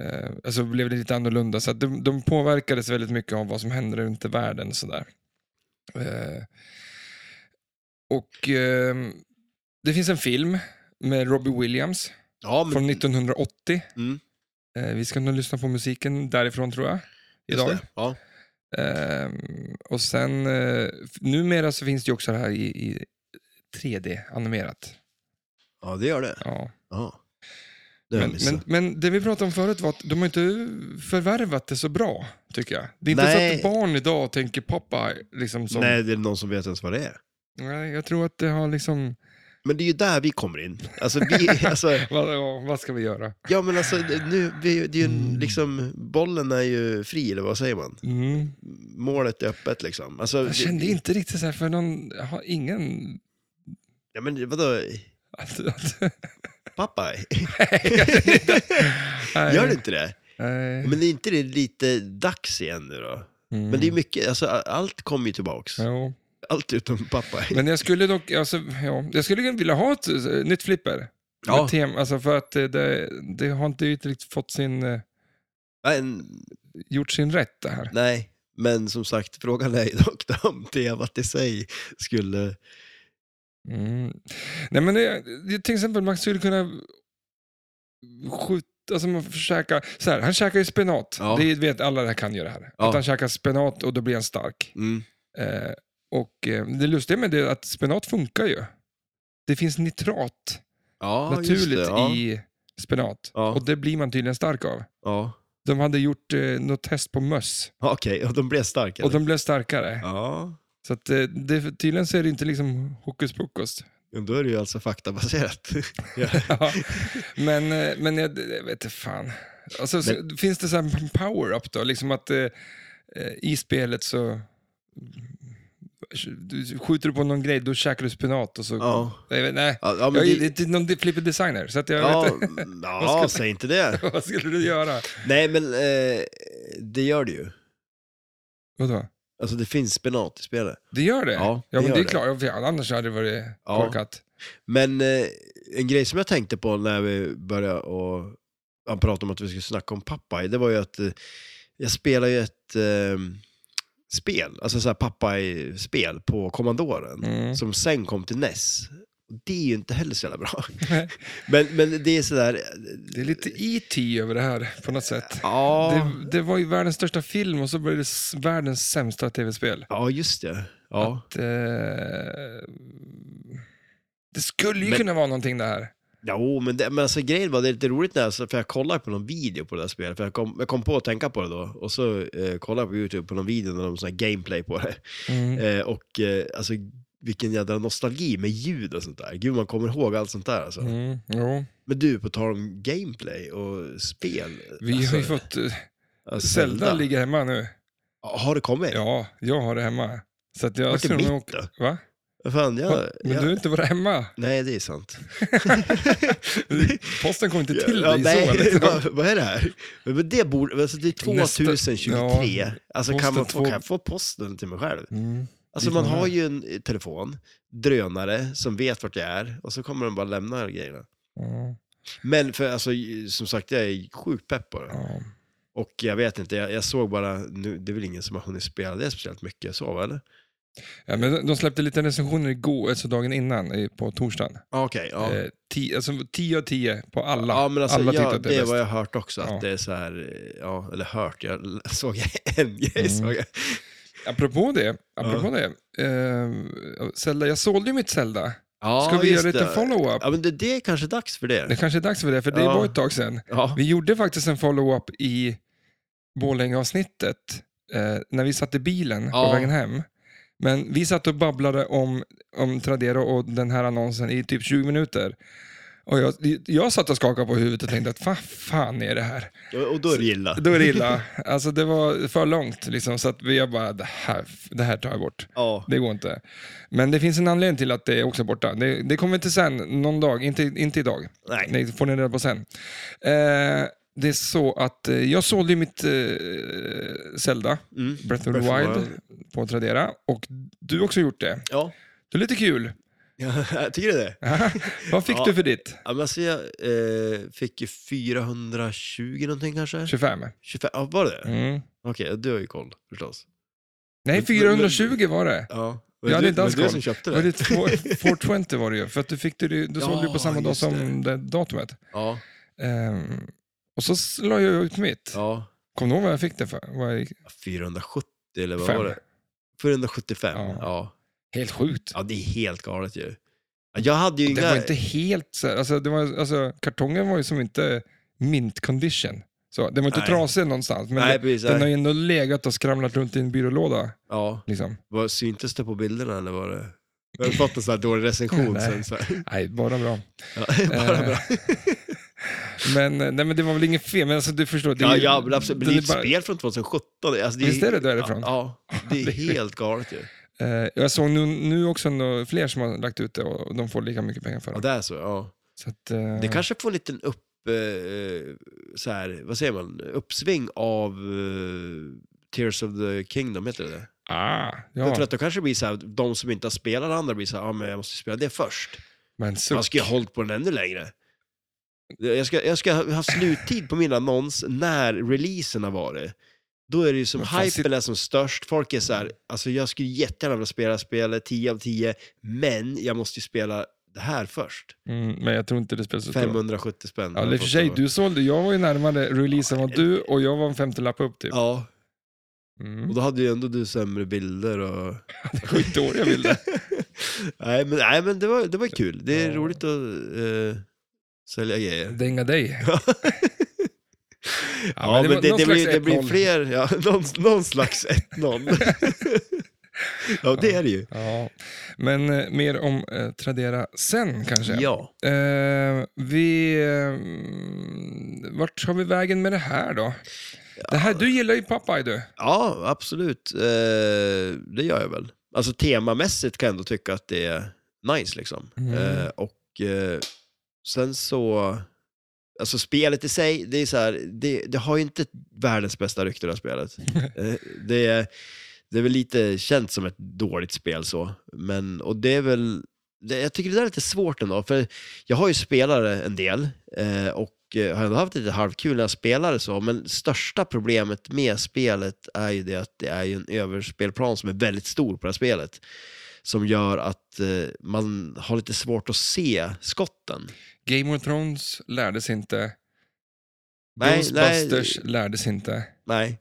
S2: eh, alltså blev det lite annorlunda. Så att de, de påverkades väldigt mycket av vad som hände runt i världen. Så där. Eh, Och eh, det finns en film med Robbie Williams
S1: Ja,
S2: från
S1: men
S2: 1980.
S1: Mm.
S2: Eh, vi ska nog lyssna på musiken därifrån tror jag.
S1: just
S2: Idag.
S1: det. Ja.
S2: Ehm, och sen, eh, f- numera så finns det ju också det här i, i 3D-animerat.
S1: ja, det gör det.
S2: Ja.
S1: Ja. Det har
S2: Men,
S1: jag
S2: men,
S1: missat.
S2: men det vi pratade om förut var att de har inte förvärvat det så bra, tycker jag. Det är inte
S1: Nej.
S2: så att barn idag tänker pappa, liksom som... Nej.
S1: Nej, det är någon som vet ens vad det är.
S2: Jag tror att det har liksom,
S1: Men det är ju där vi kommer in. Alltså, vi, [LAUGHS] alltså,
S2: vad, ja, vad ska vi göra?
S1: ja, men alltså, det- nu, vi, det är ju en,
S2: Mm.
S1: liksom, bollen är ju fri, eller vad säger man?
S2: Mm.
S1: Målet är öppet liksom. Alltså,
S2: Jag
S1: det-
S2: kände inte riktigt så här, för någon, jag har ingen...
S1: Ja, men vadå?
S2: Att, att,
S1: Pappa? [LAUGHS]
S2: nej,
S1: Gör du inte det?
S2: Nej.
S1: Men är inte det lite dags igen nu då?
S2: Mm.
S1: Men det är mycket, alltså, allt kommer ju tillbaks.
S2: Jo.
S1: Allt utom pappa.
S2: Men jag skulle dock, alltså, ja, jag skulle vilja ha ett eh, nytt flipper.
S1: Ja.
S2: Med Tem, alltså för att eh, det, det har inte riktigt fått sin, eh,
S1: Men,
S2: gjort sin rätt det här.
S1: nej, men som sagt, frågan är ju dock då om temat i sig skulle...
S2: Mm. Nej, men det, det, till exempel, man skulle kunna skjuta, alltså man får käka, så här, han käkar ju spenat.
S1: Ja.
S2: Det vet alla det kan ju det här.
S1: Ja.
S2: Att han käkar spenat och då blir han stark.
S1: Mm.
S2: Eh, och eh, det lustiga med det är att spenat funkar ju. Det finns nitrat
S1: Ja, just
S2: naturligt
S1: det, ja.
S2: i spenat.
S1: Ja.
S2: Och det blir man tydligen stark av.
S1: Ja,
S2: De hade gjort eh, något test på möss
S1: Ja, okej, och de blev starka.
S2: och de blev starkare.
S1: Ja,
S2: Så att, eh, det, tydligen så är det inte liksom hokus pokus. [LAUGHS]
S1: men då är det ju alltså faktabaserat.
S2: Ja. men, eh, men jag, jag vet inte fan. Alltså, så, finns det så här power-up då? Liksom att eh, eh, i spelet så mm, du skjuter du på någon grej, då käkar du spenat och så...
S1: ja.
S2: Jag vet, nej,
S1: Ja, ja, men
S2: jag är
S1: det,
S2: inte någon flipper designer, så att jag vet
S1: ja,
S2: inte.
S1: [LAUGHS] ja, säg inte det.
S2: [LAUGHS] Vad skulle du göra?
S1: Nej, men eh, det gör det ju.
S2: Vadå?
S1: Alltså det finns spenat i spelet.
S2: Det gör det?
S1: Ja, det
S2: ja men
S1: gör
S2: det är
S1: det.
S2: klart. för Annars hade det varit
S1: Ja.
S2: korkat.
S1: Men eh, en grej som jag tänkte på när vi började och han pratade om att vi skulle snacka om Popeye, det var ju att eh, jag spelar ju ett eh, spel, alltså så här Popeye-spel på kommandoren
S2: Mm.
S1: som sen kom till NES. Och Det är ju inte heller så jävla bra. [LAUGHS] men, men det är eh, sådär...
S2: Det är lite E.T. över det här på något sätt.
S1: Ja,
S2: Det, det var ju världens största film och så blev det s- världens sämsta tv-spel.
S1: ja just det. Ja.
S2: Att, eh, det skulle ju
S1: Men-
S2: kunna vara någonting det här.
S1: Jo, men, det, men alltså, grejen var, det är lite roligt när jag, för jag kollade på någon video på det där spelet, för jag kom, jag kom på att tänka på det då, och så eh, kollade jag på YouTube på någon video när de sån här gameplay på det.
S2: Mm.
S1: Eh, och eh, alltså vilken jädra nostalgi med ljud och sånt där. Gud, man kommer ihåg allt sånt där alltså.
S2: Mm, jo.
S1: Men du, på tal om gameplay och spel.
S2: Vi
S1: alltså,
S2: har ju fått... eh,
S1: ja,
S2: Zelda. ligger hemma nu.
S1: Ja, Har det kommit?
S2: Ja, jag har det hemma. Så att jag
S1: Vart är
S2: skulle
S1: mitt
S2: nog-
S1: då?
S2: Va?
S1: Vad Fan, jag,
S2: Men
S1: jag,
S2: du har inte varit hemma.
S1: Nej, det är
S2: [LAUGHS]
S1: sant. [LAUGHS]
S2: Posten kom inte till
S1: ja,
S2: dig så.
S1: nej,
S2: Liksom.
S1: [LAUGHS] vad, vad är det här? Men det, borde, alltså, det är
S2: Nästa-
S1: 2023.
S2: ja,
S1: alltså, kan,
S2: posten
S1: man få,
S2: två-
S1: kan jag få posten till mig själv?
S2: Mm.
S1: Alltså
S2: Vi
S1: man
S2: kommer-
S1: har ju en eh, telefon, drönare som vet vart jag är och så kommer de bara lämna grejerna.
S2: Ja,
S1: Men för alltså, ju- som sagt, jag är sjukt pepp på det.
S2: ja.
S1: Och jag vet inte, jag, jag såg bara, nu, det är väl ingen som har hunnit spela det speciellt mycket så va, eller?
S2: Ja, men de- de släppte lite recensioner igår, alltså dagen innan, eh, på torsdagen.
S1: Ja, Ah, Okej, ja.
S2: Eh, ti- alltså 10 av 10 på alla.
S1: Ja, men alltså,
S2: alla
S1: ja,
S2: tyckte att det,
S1: det
S2: är
S1: var
S2: bäst.
S1: jag hört också, att
S2: Ja.
S1: det är så här, eh, ja, eller hört, jag [LAUGHS] l- såg en grej.
S2: Mm.
S1: Såg jag.
S2: Apropå det, apropå det eh, Zelda, jag sålde ju mitt Zelda.
S1: Ja,
S2: Ska vi
S1: just
S2: göra lite
S1: det.
S2: follow-up?
S1: Ja, men det, det är kanske dags för
S2: Det
S1: det.
S2: kanske är dags för det, för det
S1: Ja.
S2: var ett tag sedan.
S1: Ja,
S2: Vi gjorde faktiskt en follow-up i Borlängeavsnittet eh, när vi satt i bilen
S1: Ja.
S2: på vägen hem. Men vi satt och babblade om, om Tradera och den här annonsen i typ 20 minuter. Och jag, jag satt och skakade på huvudet och tänkte att vad fan är det här?
S1: och då är det illa.
S2: Då är det illa. [LAUGHS] Alltså det var för långt liksom, så att jag bara, det här, det här tar jag bort.
S1: Ja,
S2: Det går inte. Men det finns en anledning till att det är också borta. Det, det kommer inte sen, någon dag. Inte, inte idag.
S1: Nej.
S2: Det får ni reda på sen. Eh, det är så att eh, jag sålde ju mitt eh, Zelda,
S1: Mm.
S2: Breath of the
S1: Breath
S2: Wild,
S1: of the
S2: på Tradera. Och du har också gjort det.
S1: ja. [LAUGHS]
S2: Det är lite kul. [LAUGHS]
S1: jag tycker du det?
S2: Vad fick
S1: Ja.
S2: du för ditt?
S1: Ja, men alltså jag eh, fick ju 420 någonting kanske?
S2: 25?
S1: 25, ja, var det det?
S2: Mm.
S1: Okej, du har ju koll förstås.
S2: Nej,
S1: Men-
S2: 420 var det.
S1: Ja. Var
S2: Jag
S1: det
S2: hade
S1: du-
S2: inte alls
S1: var det du
S2: koll.
S1: som köpte
S2: Var
S1: det?
S2: det två- 420 var det ju, för att du fick det, ju- du sålde ju på
S1: Ja,
S2: samma dag
S1: just
S2: som det datumet.
S1: [LAUGHS] Ja,
S2: Ehm, och så s- la jag ut mitt.
S1: ja.
S2: Kommer du ihåg vad jag fick det för? Vad jag gick?
S1: 470 eller vad var
S2: Fem.
S1: det? 475,
S2: Ja.
S1: ja. ja.
S2: Helt sjukt.
S1: det är helt galet ju. Jag hade ju
S2: Det
S1: inga...
S2: var inte helt så här, alltså, det var, alltså kartongen var ju som inte mint condition. Så, den var inte
S1: Nej.
S2: trasig någonstans, men
S1: Nej,
S2: det-
S1: precis.
S2: den har
S1: nej.
S2: ju ändå legat och skramlat runt i en byrålåda.
S1: Ja,
S2: Liksom.
S1: var, syntes det på bilderna eller var det... Jag har fått en sån här dålig recension
S2: Nej.
S1: sen. Så här.
S2: Nej, bara bra.
S1: Ja, [LAUGHS] bara
S2: Eh,
S1: bra.
S2: [LAUGHS] Men, eh, nej, men det var väl inget fel, men alltså, du förstår. Det är
S1: Ja,
S2: ju-
S1: ja men absolut. Men det
S2: den
S1: är
S2: är
S1: ett
S2: bara-
S1: spel från 2017. Alltså, det
S2: Visst är det därifrån?
S1: Ja, ja,
S2: [LAUGHS]
S1: det är helt galet ju.
S2: Eh, jag såg nu, nu också nå- fler som har lagt ut det och de får lika mycket pengar för
S1: Ja,
S2: det.
S1: det är så. Ja.
S2: Så att, eh,
S1: Det kanske får en liten upp, eh, så här, vad säger man, uppsving av eh, Tears of the Kingdom, heter det det
S2: ah,
S1: För
S2: ja,
S1: att då kanske det blir så här, de som inte har spelat det andra blir så här, ah, men jag måste spela det först.
S2: men
S1: Man
S2: suck.
S1: ska ju ha hållit på den ännu längre. Jag ska, jag ska ha ha sluttid på min annons när releasen har varit. Då är det ju som
S2: Men fan,
S1: hypen är som störst. Folk är så här, alltså jag skulle jättegärna vilja spela spelet 10 av 10, men jag måste ju spela det här först.
S2: Mm, men jag tror inte det spelar så stor roll.
S1: 570 spänn.
S2: Ja, i och för sig, du sålde, jag var ju närmare release än vad du och jag var en femtelapp upp typ.
S1: Ja, och
S2: Mm. [LAUGHS]
S1: då hade ju ändå du sämre bilder och...
S2: Skitdåliga bilder.
S1: [LAUGHS] nej, men, nej, men det var, det var kul. Det är
S2: Ja.
S1: roligt att eh, sälja
S2: [LAUGHS]
S1: grejer.
S2: Dänga dig.
S1: Ja,
S2: Ja, men det
S1: men,
S2: var
S1: det,
S2: någon
S1: det, blir,
S2: slags
S1: det blir
S2: 1-0.
S1: fler, ja, [LAUGHS] någon, någon slags
S2: [LAUGHS]
S1: 1-0. ja, det är det ju.
S2: Ja. Men eh, mer om eh, Tradera sen kanske.
S1: Ja.
S2: Eh, vi, eh, vart tar vi vägen med det här då? Det här, du gillar ju Popeye du.
S1: ja, absolut. Eh, det gör jag väl. Alltså temamässigt kan jag ändå tycka att det är nice liksom.
S2: Mm.
S1: Eh, och eh, sen så, alltså spelet i sig, det är så här, det, det har ju inte världens bästa rykte det här spelet. Eh, det, är- det är väl lite känt som ett dåligt spel så, men, och det är väl, det, jag tycker det där är lite svårt ändå, för jag har ju spelare en del eh, och eh, har ändå haft lite halvkul när jag spelade så, men största problemet med spelet är ju det att det är ju en överspelplan som är väldigt stor på det här spelet. Som gör att eh, man har lite svårt att se skotten.
S2: Game of Thrones lärdes inte.
S1: Nej,
S2: Ghostbusters lärdes inte.
S1: Nej.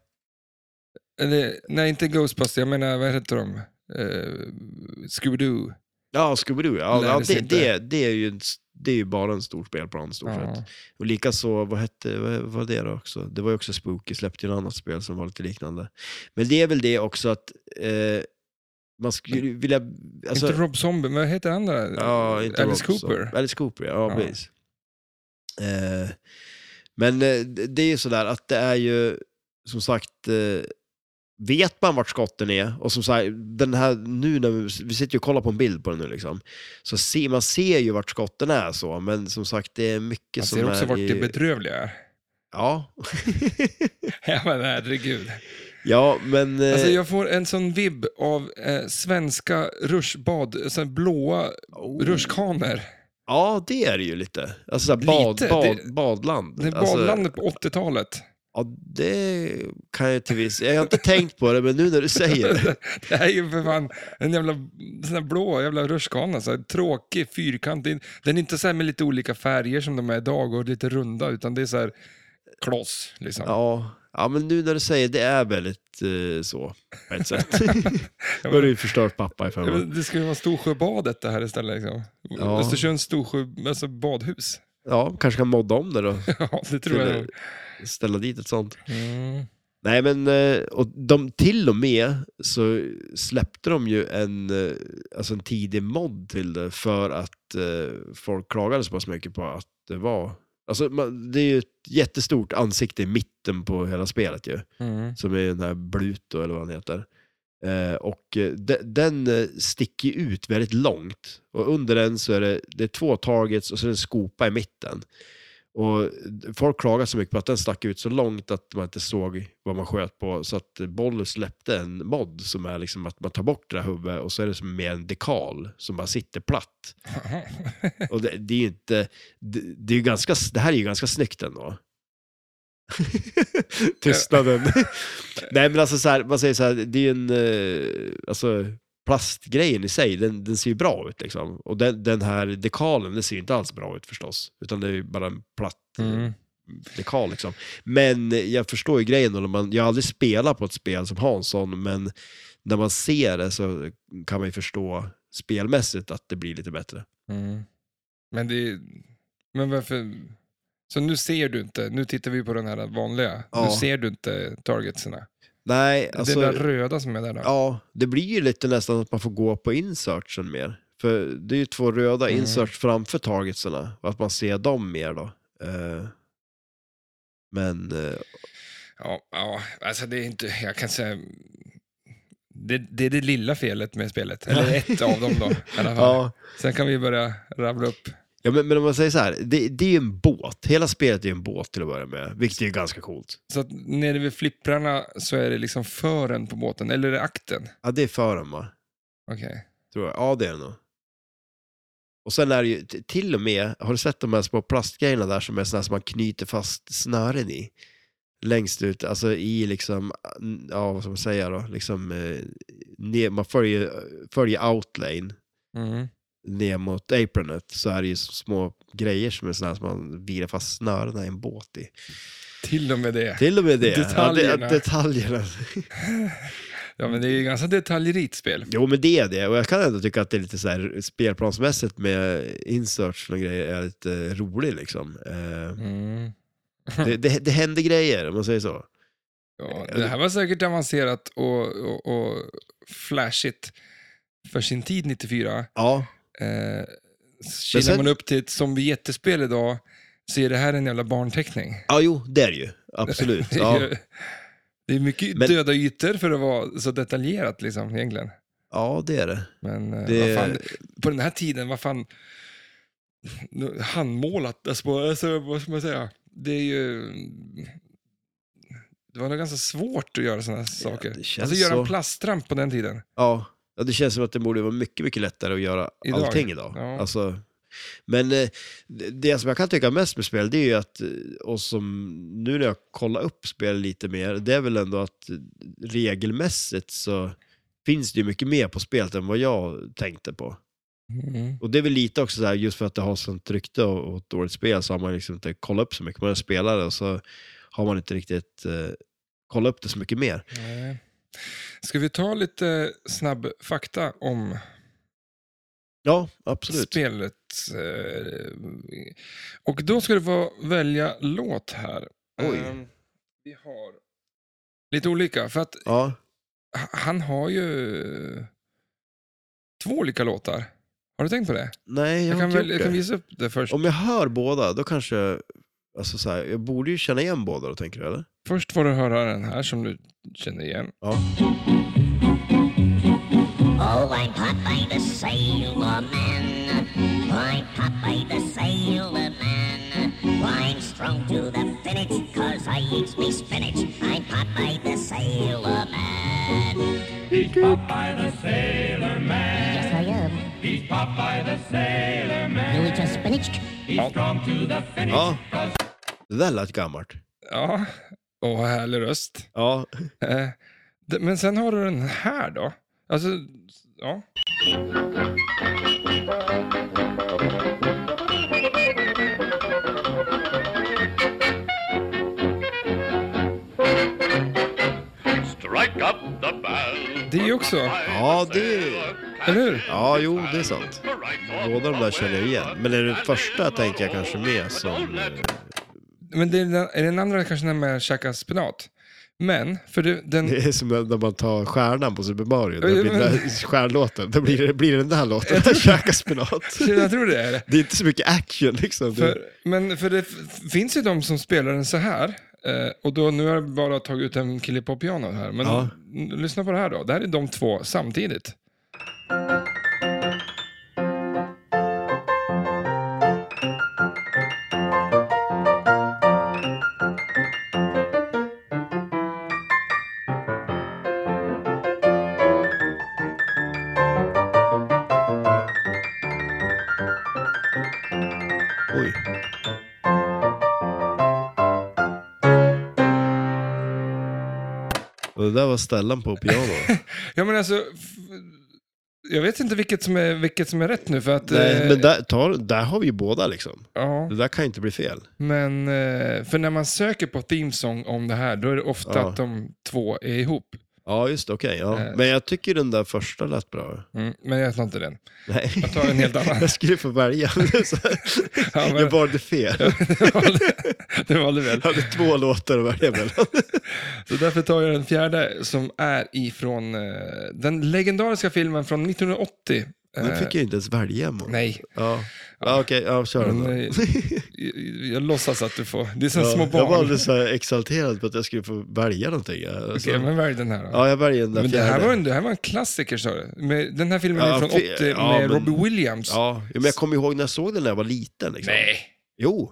S2: Eller, nej, inte Ghostbusters, jag menar vad heter de? Uh, Scooby-Doo.
S1: Ja, Scooby-Doo, ja, ja
S2: Lärdes
S1: det,
S2: inte.
S1: det, det, är ju, en- det är ju bara en stor spelplan i stort sett.
S2: Ja.
S1: Och likaså, vad hette vad var det då också? Det var ju också Spooky, släppte ju ett annat spel som var lite liknande. Men det är väl det också att eh, man skulle ju vilja... Alltså,
S2: inte Rob Zombie, men vad heter han där?
S1: ja, inte
S2: Alice
S1: Robson.
S2: Cooper.
S1: Alice Cooper, ja,
S2: Ja.
S1: precis. Eh, men eh, det det är ju sådär att det är ju, som sagt, eh, vet man vart skotten är och som sagt, den här, nu när vi, vi sitter ju och kollar på en bild på den nu liksom, så ser, man ser ju vart skotten är så, men som sagt det är mycket
S2: Man
S1: som
S2: ser också
S1: är
S2: vart
S1: i-
S2: det bedrövliga [LAUGHS] är.
S1: Ja,
S2: Ja, men herregud.
S1: Eh. Ja, men... eh,
S2: Alltså, jag får en sån vibb av eh, svenska ruschbad, sån blåa
S1: oh.
S2: rutschkanor.
S1: Ja, det är det ju lite. Alltså så här,
S2: Lite,
S1: bad, bad,
S2: det-
S1: badland.
S2: Det är
S1: alltså,
S2: badlandet på 80-talet.
S1: Ja, det kan jag till viss... Jag har inte tänkt på det, men nu när du säger det.
S2: [LAUGHS] Det är ju för fan en jävla sån här blå jävla rutschkana. Så här, tråkig, fyrkantig. Den är inte så här med lite olika färger som de är idag och lite runda, utan det är så här kloss. Liksom.
S1: Ja, ja, men nu när du säger det, det är väldigt eh, så, på ett
S2: [LAUGHS]
S1: sätt. Nu har du ju förstört pappa i fem
S2: Ja,
S1: år.
S2: men Det skulle vara Storsjöbadet det här istället. Liksom.
S1: Ja.
S2: Östersunds Storsjö, alltså badhus. [LAUGHS]
S1: Ja, kanske kan modda om det då.
S2: Ja, det tror jag.
S1: Ställa dit ett sånt.
S2: Mm.
S1: Nej, men eh, och de, till och med så släppte de ju en, eh, alltså en tidig mod till det för att eh, folk klagade så pass mycket på att det var... Alltså, man, det är ju ett jättestort ansikte i mitten på hela spelet ju,
S2: Mm.
S1: som är den här Bluto eller vad han heter. Eh, och eh, de, den eh, sticker ju ut väldigt långt. Och under den så är det, det är två targets och så är det en skopa i mitten. Och eh, folk klagade så mycket på att den stack ut så långt att man inte såg vad man sköt på. Så att Boll släppte en mod som är liksom att man tar bort det där huvudet och så är det som mer en dekal som bara sitter platt. Och det, det är ju inte, det, det, är ju ganska, det här är ju ganska snyggt
S2: [LAUGHS]
S1: ändå. [LAUGHS] Tystnaden. Nej men alltså så här, man säger så här, det är ju en, eh, alltså plastgrejen i sig, den, den ser ju bra ut liksom. Och den, den här dekalen, den ser ju inte alls bra ut förstås. Utan det är ju bara en platt eh,
S2: Mm.
S1: dekal liksom. Men jag förstår ju grejen, och när man, jag har aldrig spelat på ett spel som Hansson, men när man ser det så kan man ju förstå spelmässigt att det blir lite bättre.
S2: Mm. Men det är... Men varför... Så nu ser du inte, nu tittar vi på den här vanliga,
S1: Ja.
S2: nu ser du inte targetsarna.
S1: Nej,
S2: det
S1: alltså,
S2: där röda som är där då.
S1: ja, det blir ju lite nästan att man får gå på insertsen mer. För det är ju två röda
S2: Mm.
S1: inserts framför targetsarna, och att man ser dem mer då. Eh, Men eh,
S2: Ja, ja, alltså det är inte, jag kan säga, det, det är det lilla felet med
S1: [LAUGHS]
S2: spelet. Eller ett av dem då, i alla fall.
S1: ja,
S2: Sen kan vi börja rabbla upp.
S1: ja men, men om man säger så här, det, det är ju en båt. Hela spelet är ju en båt till att börja med, vilket är ju ganska coolt.
S2: Så att nere vid flipprarna så är det liksom fören på båten, eller är det akten?
S1: Ja, det är fören va?
S2: Okej.
S1: Tror jag. Ja, det är det nog. Och sen är det ju t- till och med, har du sett de här små plastgrejerna där som är såna här som man knyter fast snören i? Längst ut, alltså i liksom, ja vad ska man säga då, liksom, eh, ner, man följer, följer outlane
S2: Mm.
S1: ner mot apronet så är det ju små grejer som är såna här som man virar fast snörena i en båt i.
S2: Till och med det.
S1: Till och med det. Ja,
S2: Detaljerna.
S1: det, detaljerna.
S2: Ja, men det är ju ganska detaljrikt spel.
S1: Jo, men det är det. Och jag kan ändå tycka att det är lite så här spelplansmässigt med inserts och grejer är lite rolig liksom. Eh,
S2: Mm.
S1: det, det, det händer grejer, om man säger så.
S2: Ja, det här var säkert avancerat och, och, och flashigt för sin tid 94.
S1: Ja,
S2: Eh, kilar
S1: sen-
S2: man upp till ett zombiejättespel idag så är det här en jävla barnteckning. [LAUGHS]
S1: ja jo, det är det ju. Absolut.
S2: Det är
S1: Ja,
S2: ju- Det är mycket
S1: Men-
S2: döda ytor för att vara så detaljerat liksom egentligen.
S1: ja det är det.
S2: Men eh,
S1: Det-
S2: vad fan, på den här tiden, vad fan, nu- handmålat, alltså, på- alltså, vad ska man säga, det är ju, det var nog ganska svårt att göra sådana här saker.
S1: det känns
S2: alltså göra en
S1: så.
S2: plastramp på den tiden.
S1: Ja. ja, det känns som att det borde vara mycket, mycket lättare att göra
S2: Idag.
S1: allting idag.
S2: Ja.
S1: Alltså, men eh, det- det som jag kan tycka mest med spel, det är ju att, eh, och som nu när jag kollar upp spel lite mer, det är väl ändå att eh, regelmässigt så finns det ju mycket mer på spelet än vad jag tänkte på. Och det är väl lite också så här, just för att det har sånt rykte och, och ett dåligt spel så har man liksom inte kollat upp så mycket. Man är spelare och så har man inte riktigt eh, kollat upp det så mycket mer.
S2: Nej. Ska vi ta lite snabb fakta om
S1: Ja, absolut.
S2: spelet? eh, Och då ska du få välja låt här.
S1: Oj.
S2: Ehm, Vi har lite olika, för att
S1: Ja,
S2: h- han har ju två olika låtar. Har du tänkt på det?
S1: nej, jag,
S2: Jag
S1: har
S2: kan,
S1: inte
S2: väl,
S1: gjort
S2: jag
S1: det.
S2: kan visa upp det först.
S1: Om jag hör båda, då kanske jag, alltså så här, jag borde ju känna igen båda då, tänker du eller?
S2: Först får du höra den här som du känner igen.
S1: Ja.
S3: Oh, I'm Popeye the Sailor Man. I'm Popeye the Sailor Man. I'm strong to the finish, cause I eat me spinach. I'm Popeye the Sailor Man. He's Popeye the Sailor Man. Yes, I am. He's Popeye the Sailor Man. You eat your spinach?
S1: ja. Det där lät gammalt.
S2: Ja, och härlig röst.
S1: Ja. [LAUGHS]
S2: Eh, d- Men sen har du den här då. Alltså, ja.
S4: Strike up the band.
S2: Det är ju också,
S1: Ja, det är...
S2: eller hur?
S1: Ja, jo, det är sant. Båda de där känner jag igen. Men är det första tänker jag kanske mer som... eh,
S2: Men det är, den- är den andra kanske den med käka spenat? Men, för du, den...
S1: Det är som när man tar stjärnan på Super Mario. Då
S2: Ja,
S1: blir det
S2: men-
S1: där stjärnlåten. Då blir det, blir det den där låten. [LAUGHS] Käka spenat.
S2: Jag tror det är det.
S1: Det är inte så mycket action liksom. Det-
S2: För, men för det f- finns ju de som spelar den så här. eh, Och då, nu har jag bara tagit ut en kille på piano här. Men
S1: Ja.
S2: n- lyssna på det här då. Det här är de två samtidigt.
S1: Oj. Och det där var Stellan på piano.
S2: Ja men alltså, f- jag vet inte vilket som är, vilket som är rätt nu för att...
S1: Nej,
S2: eh,
S1: men där, tar, där har vi ju båda liksom.
S2: Ja,
S1: Det där kan ju inte bli fel.
S2: men eh, för när man söker på themesång om det här då är det ofta
S1: Ja.
S2: att de två är ihop.
S1: Ja, just det, okej. ja.
S2: Eh.
S1: Men jag tycker den där första lät bra.
S2: Mm, men jag tar inte den.
S1: Nej.
S2: Jag tar en helt annan.
S1: [LAUGHS] Jag skulle få
S2: [LAUGHS]
S1: välja. Så-
S2: Ja, men-
S1: Jag
S2: [LAUGHS]
S1: valde fel.
S2: Det valde- det valde väl.
S1: Jag hade två låtar att välja mellan.
S2: Så därför tar jag den fjärde som är ifrån eh, den legendariska filmen från 1980. Eh,
S1: Nu fick jag ju inte ens välja. Man.
S2: Nej,
S1: Ja. Ja, okej, ja, kör den då.
S2: men,
S1: [LAUGHS]
S2: eh, jag, jag låtsas att du får. Det är som
S1: Ja,
S2: små
S1: jag var
S2: barn.
S1: alldeles så här exalterad på att jag skulle få välja någonting. Alltså.
S2: Okej, men välj den här då.
S1: Ja, jag väljer den där
S2: men det här,
S1: fjärde.
S2: var en, det här var en klassiker sa du. Med- Den här filmen
S1: Ja,
S2: är från
S1: fi-
S2: 80
S1: ja, men-
S2: med Robbie Williams.
S1: Ja, jo, men jag kommer ihåg när jag såg den när jag var liten. Liksom.
S2: Nej,
S1: Jo,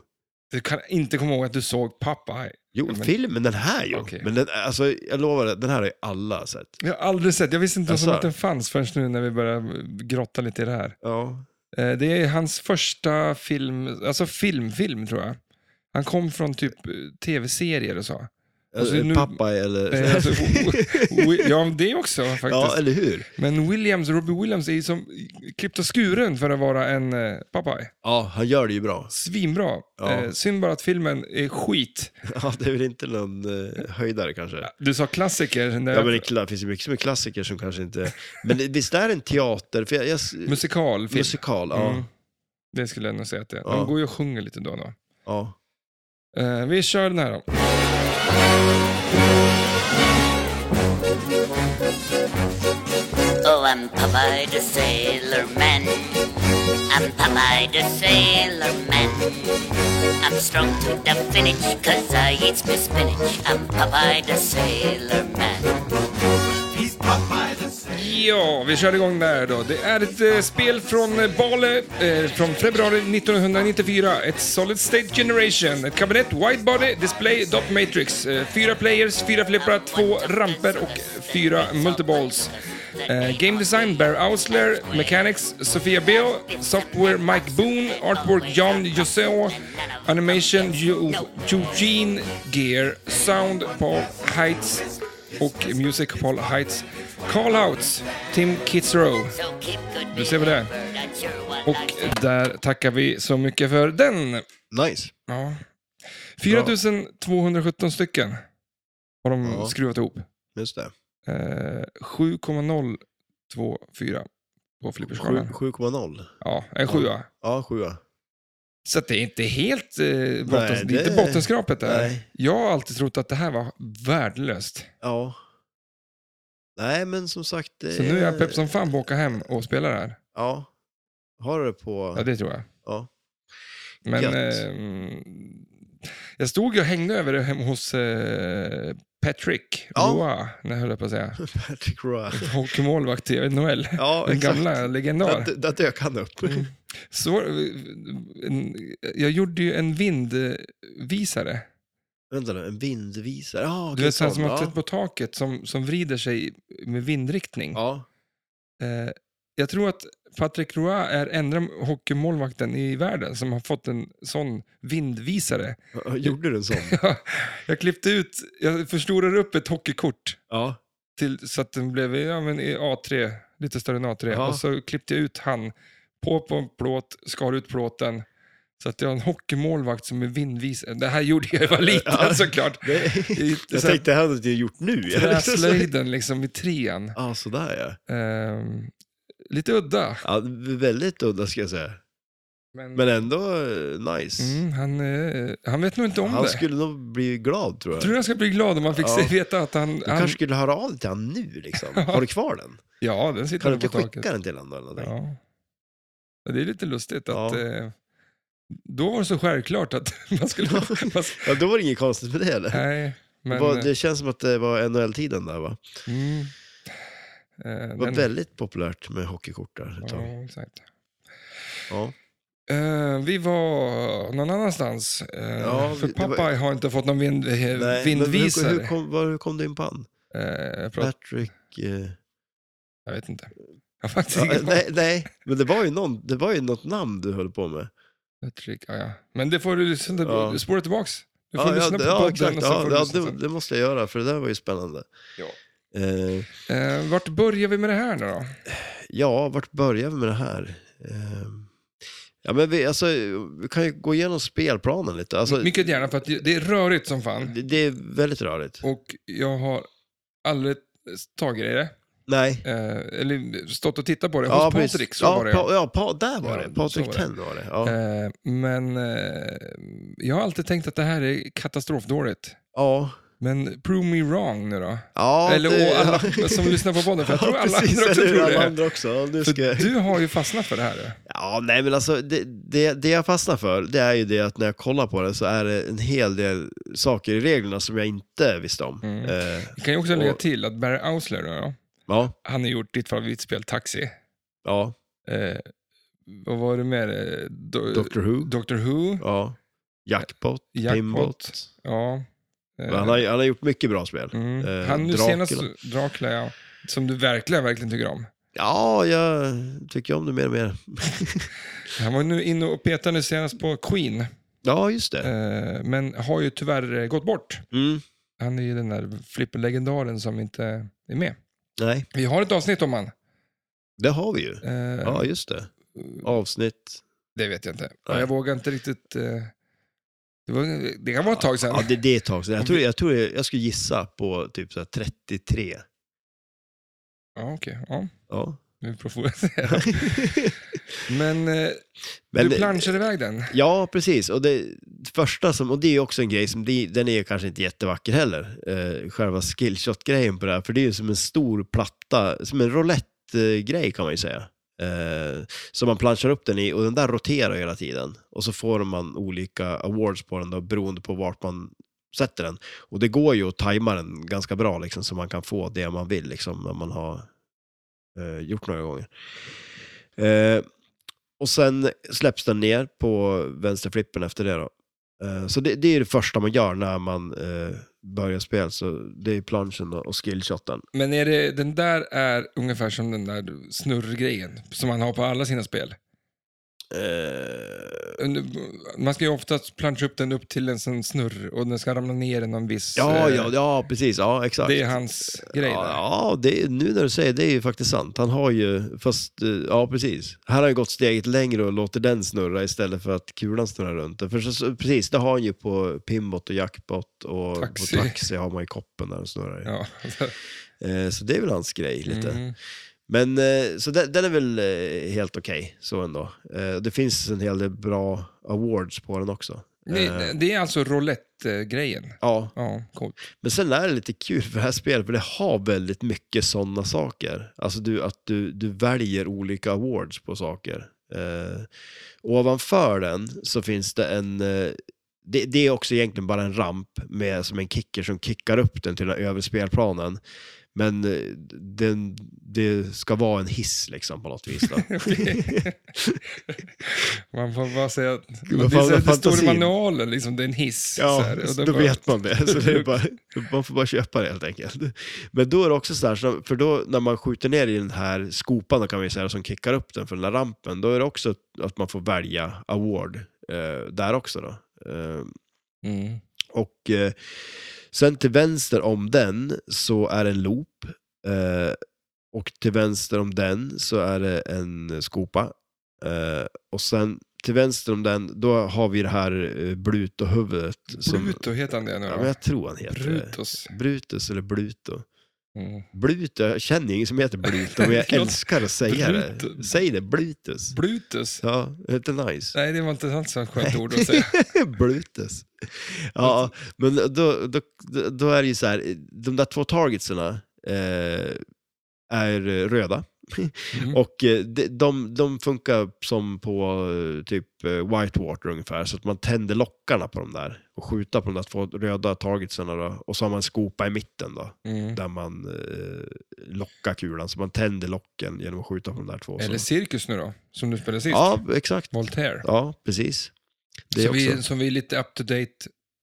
S2: du kan inte komma ihåg att du såg Popeye.
S1: jo
S2: Ja, men-
S1: filmen, den här ju.
S2: Okej.
S1: Men den, alltså, jag lovar, det, den här har ju alla sett.
S2: Jag har aldrig sett, jag visste inte ens om
S1: Jaså?
S2: att den fanns förrän nu när vi började grotta lite i det här.
S1: Ja.
S2: Eh, Det är hans första film, alltså filmfilm tror jag. Han kom från typ eh, tv-serier och så. Alltså,
S1: Eh,
S2: nu-
S1: Pappa
S2: [LAUGHS]
S1: eller...
S2: Eh, Alltså, Wi- ja, det också faktiskt.
S1: ja, eller hur?
S2: Men Williams, Robbie Williams är ju som klippt och skuren för att vara en eh, Popeye.
S1: Ja, han gör det ju bra. [LAUGHS]
S2: Svinbra.
S1: Ja.
S2: Eh, synd bara att filmen är skit.
S1: Ja, det är väl inte någon eh, höjdare kanske.
S2: Du sa klassiker, när
S1: Ja, men det kla- finns ju mycket som är klassiker som kanske inte... Men det- visst är det en teater? För jag, jag,
S2: musikalfilm.
S1: musikal, ja.
S2: Mm. Det skulle jag nog säga att det är.
S1: Ja.
S2: De går ju och sjunger lite då och då.
S1: ja.
S2: Eh, vi kör den här då.
S5: Oh, I'm Popeye the Sailor Man. I'm Popeye the Sailor Man. I'm strong to the finish, cause I eat my spinach. I'm Popeye the Sailor Man.
S2: Ja, vi kör igång där då. Det är ett eh, spel från eh, Bale eh, från februari 1994. Ett Solid State Generation. Ett kabinett, White Body, Display, Dot Matrix. Eh, fyra players, fyra flipprar, två ramper och fyra multiballs. Eh, game Design, Bear Ausler, Mechanics, Sofia Bill, Software, Mike Boone, Artwork, John Joseo, Animation, Yo- Eugene Gear, Sound, Paul Heights och Music, Paul Heights. Call-outs, Tim Kitzrow.
S5: So keep good
S2: Du ser vad det är.
S5: behavior, that's your one
S2: Och
S5: life.
S2: där tackar vi så mycket för den.
S1: Nice.
S2: Ja. 4217 stycken har de
S1: Ja.
S2: skruvat ihop.
S1: Just det.
S2: Eh, 7,024 på
S1: Sju-
S2: flipperskalan.
S1: 7,0.
S2: Ja, en sjua.
S1: Ja, sjua.
S2: Så att det är inte helt eh, botten,
S1: Nej,
S2: det... är inte
S1: det-
S2: bottenskrapet där.
S1: Nej.
S2: Jag har alltid trott att det här var värdelöst.
S1: Ja. Nej, men som sagt... det
S2: Så nu är jag pepp som fan på att åka hem och spela det här.
S1: Ja. Har du det på...
S2: Ja, det tror jag.
S1: Ja.
S2: Men
S1: Gött.
S2: eh, jag stod och hängde över det hemma hos eh, Patrick
S1: Ja.
S2: Roa, när jag höll på
S1: [LAUGHS]
S2: att säga.
S1: Patrick Roy.
S2: Hockeymålvakt i NHL.
S1: Ja,
S2: [LAUGHS] Den
S1: exakt.
S2: gamla Mm. legendar.
S1: Där, där dök han upp.
S2: Så, eh, en, jag gjorde ju en vindvisare.
S1: Vänta nu, en vindvisare. Ah,
S2: Du
S1: okej,
S2: vet, sån
S1: sån,
S2: som man
S1: ja.
S2: sett på taket som, som vrider sig med vindriktning.
S1: Ja,
S2: Eh, jag tror att Patrick Roy är enda hockeymålvakten i världen som har fått en sån vindvisare.
S1: Ja, gjorde du
S2: [LAUGHS]
S1: en sån?
S2: jag klippte ut, jag förstorade upp ett hockeykort
S1: Ja.
S2: till, så att den blev ja, men i A3, lite större än A3.
S1: Ja.
S2: Och så klippte jag ut han på, på en plåt, skar ut plåten. Så att jag har en hockeymålvakt som är vindvis. Det här gjorde
S1: [LAUGHS]
S2: jag när jag var liten
S1: Ja.
S2: såklart.
S1: Det,
S2: [LAUGHS] I,
S1: jag
S2: så här
S1: tänkte [LAUGHS] det här hade jag gjort nu.
S2: Träslöjden liksom i trean.
S1: [LAUGHS] Ja, sådär ja.
S2: Ehm, lite udda.
S1: ja. Väldigt udda ska jag säga.
S2: Men,
S1: Men ändå eh, nice.
S2: mm, han, eh, han vet nog inte om
S1: Han
S2: det.
S1: skulle nog bli glad tror jag.
S2: Tror du han ska bli glad om han fick
S1: Ja.
S2: se, veta att han...
S1: Du
S2: han
S1: kanske skulle höra av dig till honom nu
S2: [LAUGHS]
S1: liksom. Har du kvar den?
S2: Ja, den
S1: Kan
S2: sitter
S1: du
S2: nog på
S1: inte
S2: taket.
S1: skicka den till honom eller någonting?
S2: Ja. Ja, Det är lite lustigt att
S1: Ja.
S2: eh, då var det så självklart att [LAUGHS] man skulle... man,
S1: Ja, då var det inget konstigt med det eller?
S2: nej, men... eh,
S1: det, var, det känns som att det var NHL-tiden där va?
S2: mm,
S1: Det
S2: eh,
S1: var
S2: den-
S1: väldigt populärt med hockeykort där ett
S2: ja,
S1: tag.
S2: exakt.
S1: Ja.
S2: Eh, vi var någon annanstans. Eh,
S1: Ja,
S2: för
S1: vi- det var-
S2: pappa har inte fått någon vind, eh,
S1: Nej, men
S2: vindvisare.
S1: Hur, hur, kom, var, hur kom du in på han?
S2: Eh, jag, pratar,
S1: Patrick...
S2: [LAUGHS]
S1: Eh,
S2: jag vet inte. Jag har faktiskt
S1: ja, eh,
S2: ingen aning.
S1: nej, nej, men det var, ju någon, det var ju något namn du höll på med.
S2: Patrick, ah, ja, ja. Men det får du lyssna till,
S1: Ja.
S2: spåra tillbaks. Du får
S1: Ja, ja,
S2: lyssna
S1: det-
S2: på
S1: ja
S2: podden
S1: exakt.
S2: och så
S1: Ja,
S2: får du
S1: ja,
S2: lyssna
S1: det,
S2: sen.
S1: det måste jag göra, för det där var ju spännande.
S2: Ja.
S1: Eh,
S2: Eh, vart börjar vi med det här nu då?
S1: ja, vart börjar vi med det här? Ehm, Ja, men vi, alltså, vi kan ju gå igenom spelplanen lite. Alltså,
S2: Mycket gärna, för att det är rörigt som fan.
S1: det, det är väldigt rörigt.
S2: Och jag har aldrig tagit i det.
S1: Nej.
S2: Eh, eller stått och tittat på det.
S1: Ja,
S2: Hos
S1: precis.
S2: Patrik, så
S1: ja,
S2: var det.
S1: Pa, ja, pa, där var
S2: Ja,
S1: det.
S2: så
S1: Patrik
S2: var det.
S1: Tenn var det. Ja.
S2: Eh, men eh, jag har alltid tänkt att det här är katastrofdåligt.
S1: ja.
S2: Men prove me wrong nu då.
S1: ja
S2: eller
S1: det-
S2: och
S1: [LAUGHS]
S2: alla som lyssnar på podden, för jag tror
S1: ja,
S2: alla
S1: precis,
S2: andra
S1: eller
S2: också
S1: hur?
S2: tror
S1: alla
S2: det.
S1: andra också. Ja, nu
S2: För
S1: ska...
S2: du har ju fastnat för det här. ja.
S1: Ja, nej men alltså det, det, det jag fastnar för, det är ju det att när jag kollar på det så är det en hel del saker i reglerna som jag inte visste om.
S2: Mm.
S1: Eh,
S2: Vi kan ju också lägga
S1: Och-
S2: till att Barry Ausler, då, ja,
S1: ja,
S2: han har gjort ditt favoritspel Taxi.
S1: ja,
S2: Eh, vad var det med det? Do-
S1: Doctor Who,
S2: Doctor Who.
S1: ja, Jackpot,
S2: Jackpot.
S1: Pimbot.
S2: Ja. Eh,
S1: Men Han har, han har gjort mycket bra spel.
S2: mm.
S1: eh,
S2: han nu
S1: Dracula.
S2: senast Dracula, ja. Som du verkligen, verkligen tycker om.
S1: Ja, jag tycker om det mer och mer.
S2: Han var nu inne och petade nu senast på Queen,
S1: Ja, just det.
S2: eh, men har ju tyvärr eh, gått bort.
S1: Mm.
S2: Han är ju den där flipperlegendaren som inte är med.
S1: Nej,
S2: Vi har ett avsnitt om han.
S1: det har vi ju.
S2: Eh,
S1: Ja, just det.
S2: Mm.
S1: Avsnitt.
S2: Det vet jag inte.
S1: Nej.
S2: Jag vågar inte riktigt... Eh, det, var, det kan vara ett tag sedan.
S1: Ja, det, det är ett tag sedan. Jag tror,
S2: Mm.
S1: jag, tror jag, jag skulle gissa på typ så här 33.
S2: Ja, okej. Ja,
S1: Ja.
S2: nu får jag
S1: [LAUGHS]
S2: säga. Men, eh,
S1: Men-
S2: du planschar iväg den.
S1: Ja, precis. Och det första som, och det är ju också en grej som, det, den är ju kanske inte jättevacker heller, eh, själva skillshot-grejen på det här, för det är ju som en stor platta, som en roulette-grej kan man ju säga. Eh, som man planchar upp den i och den där roterar hela tiden. Och så får man olika awards på den då, beroende på vart man sätter den. Och det går ju att tajma den ganska bra liksom, så man kan få det man vill liksom, när man har eh, gjort några gånger. Eh, och sen släpps den ner på vänsterflippen efter det då. Eh, Så det, det är det första man gör när man eh, börjar spel, så det är planschen och och skillshoten.
S2: Men är det, den där är ungefär som den där snurrgrejen som man har på alla sina spel.
S1: Eh,
S2: Man ska ju oftast plancha upp den upp till en sån snurr och den ska ramla ner i någon viss...
S1: Ja,
S2: eh,
S1: ja, ja, precis. Ja, exakt.
S2: Det är hans grej
S1: ja,
S2: där.
S1: ja det, är- nu när du säger det är ju faktiskt sant. Han har ju, fast, eh, ja precis. Här har han ju gått steget längre och låter den snurra istället för att kulan snurrar runt. För så- så, precis, det har han ju på Pimbot och Jackpot och
S2: Taxi.
S1: på Taxi har man ju koppen där den snurrar. i.
S2: Ja.
S1: Eh, Så det är väl hans grej lite.
S2: Mm.
S1: Men eh, så den, den är väl eh, helt okej, så ändå. Eh, Det finns en hel del bra awards på den också. Eh,
S2: Det, det är alltså roulette-grejen.
S1: Ja,
S2: Ja, coolt.
S1: men sen är det lite kul för det här spelet, för det har väldigt mycket sådana saker. Alltså du, att du, du väljer olika awards på saker. Eh, ovanför den så finns det en, eh, det, det är också egentligen bara en ramp med som en kicker som kickar upp den till den övre spelplanen. Men eh, den, det ska vara en hiss liksom på något vis. Då.
S2: Man får bara säga att
S1: vad
S2: det, är
S1: fan,
S2: så här, det
S1: vad
S2: står i
S1: fantasin.
S2: manualen, liksom, det är en hiss. så
S1: Ja,
S2: här, och
S1: så
S2: det
S1: då
S2: bara-
S1: vet man det. Så
S2: [LAUGHS]
S1: det är bara, man får bara köpa det helt enkelt. Men då är det också så här, så- för då när man skjuter ner i den här skopan då kan vi säga, som kickar upp den för den där rampen, då är det också att man får välja award eh, där också. Då. Eh,
S2: Mm.
S1: och eh, sen till vänster om den så är det en loop. Eh, och till vänster om den så är det en skopa. Eh, och sen till vänster om den, då har vi det här eh, Bluto-huvudet. som-
S2: Bruto heter han det nu
S1: Ja,
S2: va?
S1: men jag tror han heter det.
S2: Brutus.
S1: Brutus eller Bluto.
S2: Mm.
S1: Bluto, jag känner ingen som heter Bluto,
S2: [LAUGHS]
S1: men jag
S2: Låt-
S1: älskar att säga
S2: Bluto.
S1: det. Säg det, Blutus.
S2: Brutus?
S1: Ja, det är inte nice.
S2: Nej, det var inte alls ett skönt ord
S1: [LAUGHS]
S2: att säga.
S1: Blutus. Ja,
S2: Alltså-
S1: men då, då, då är det ju så här, de där två targetserna eh, är röda. [LAUGHS]
S2: Mm.
S1: Och eh, de, de, de funkar som på eh, typ eh, Whitewater ungefär, så att man tänder lockarna på de där och skjuter på de där två röda targetserna då. Och så har man en skopa i mitten då,
S2: Mm.
S1: där man eh, lockar kulan. Så man tänder locken genom att skjuta på de där två.
S2: Eller
S1: så.
S2: Cirkus nu då, som du spelade sist.
S1: Ja, exakt.
S2: Voltaire.
S1: Ja, precis. Det
S2: som,
S1: också.
S2: vi, som vi är lite up to date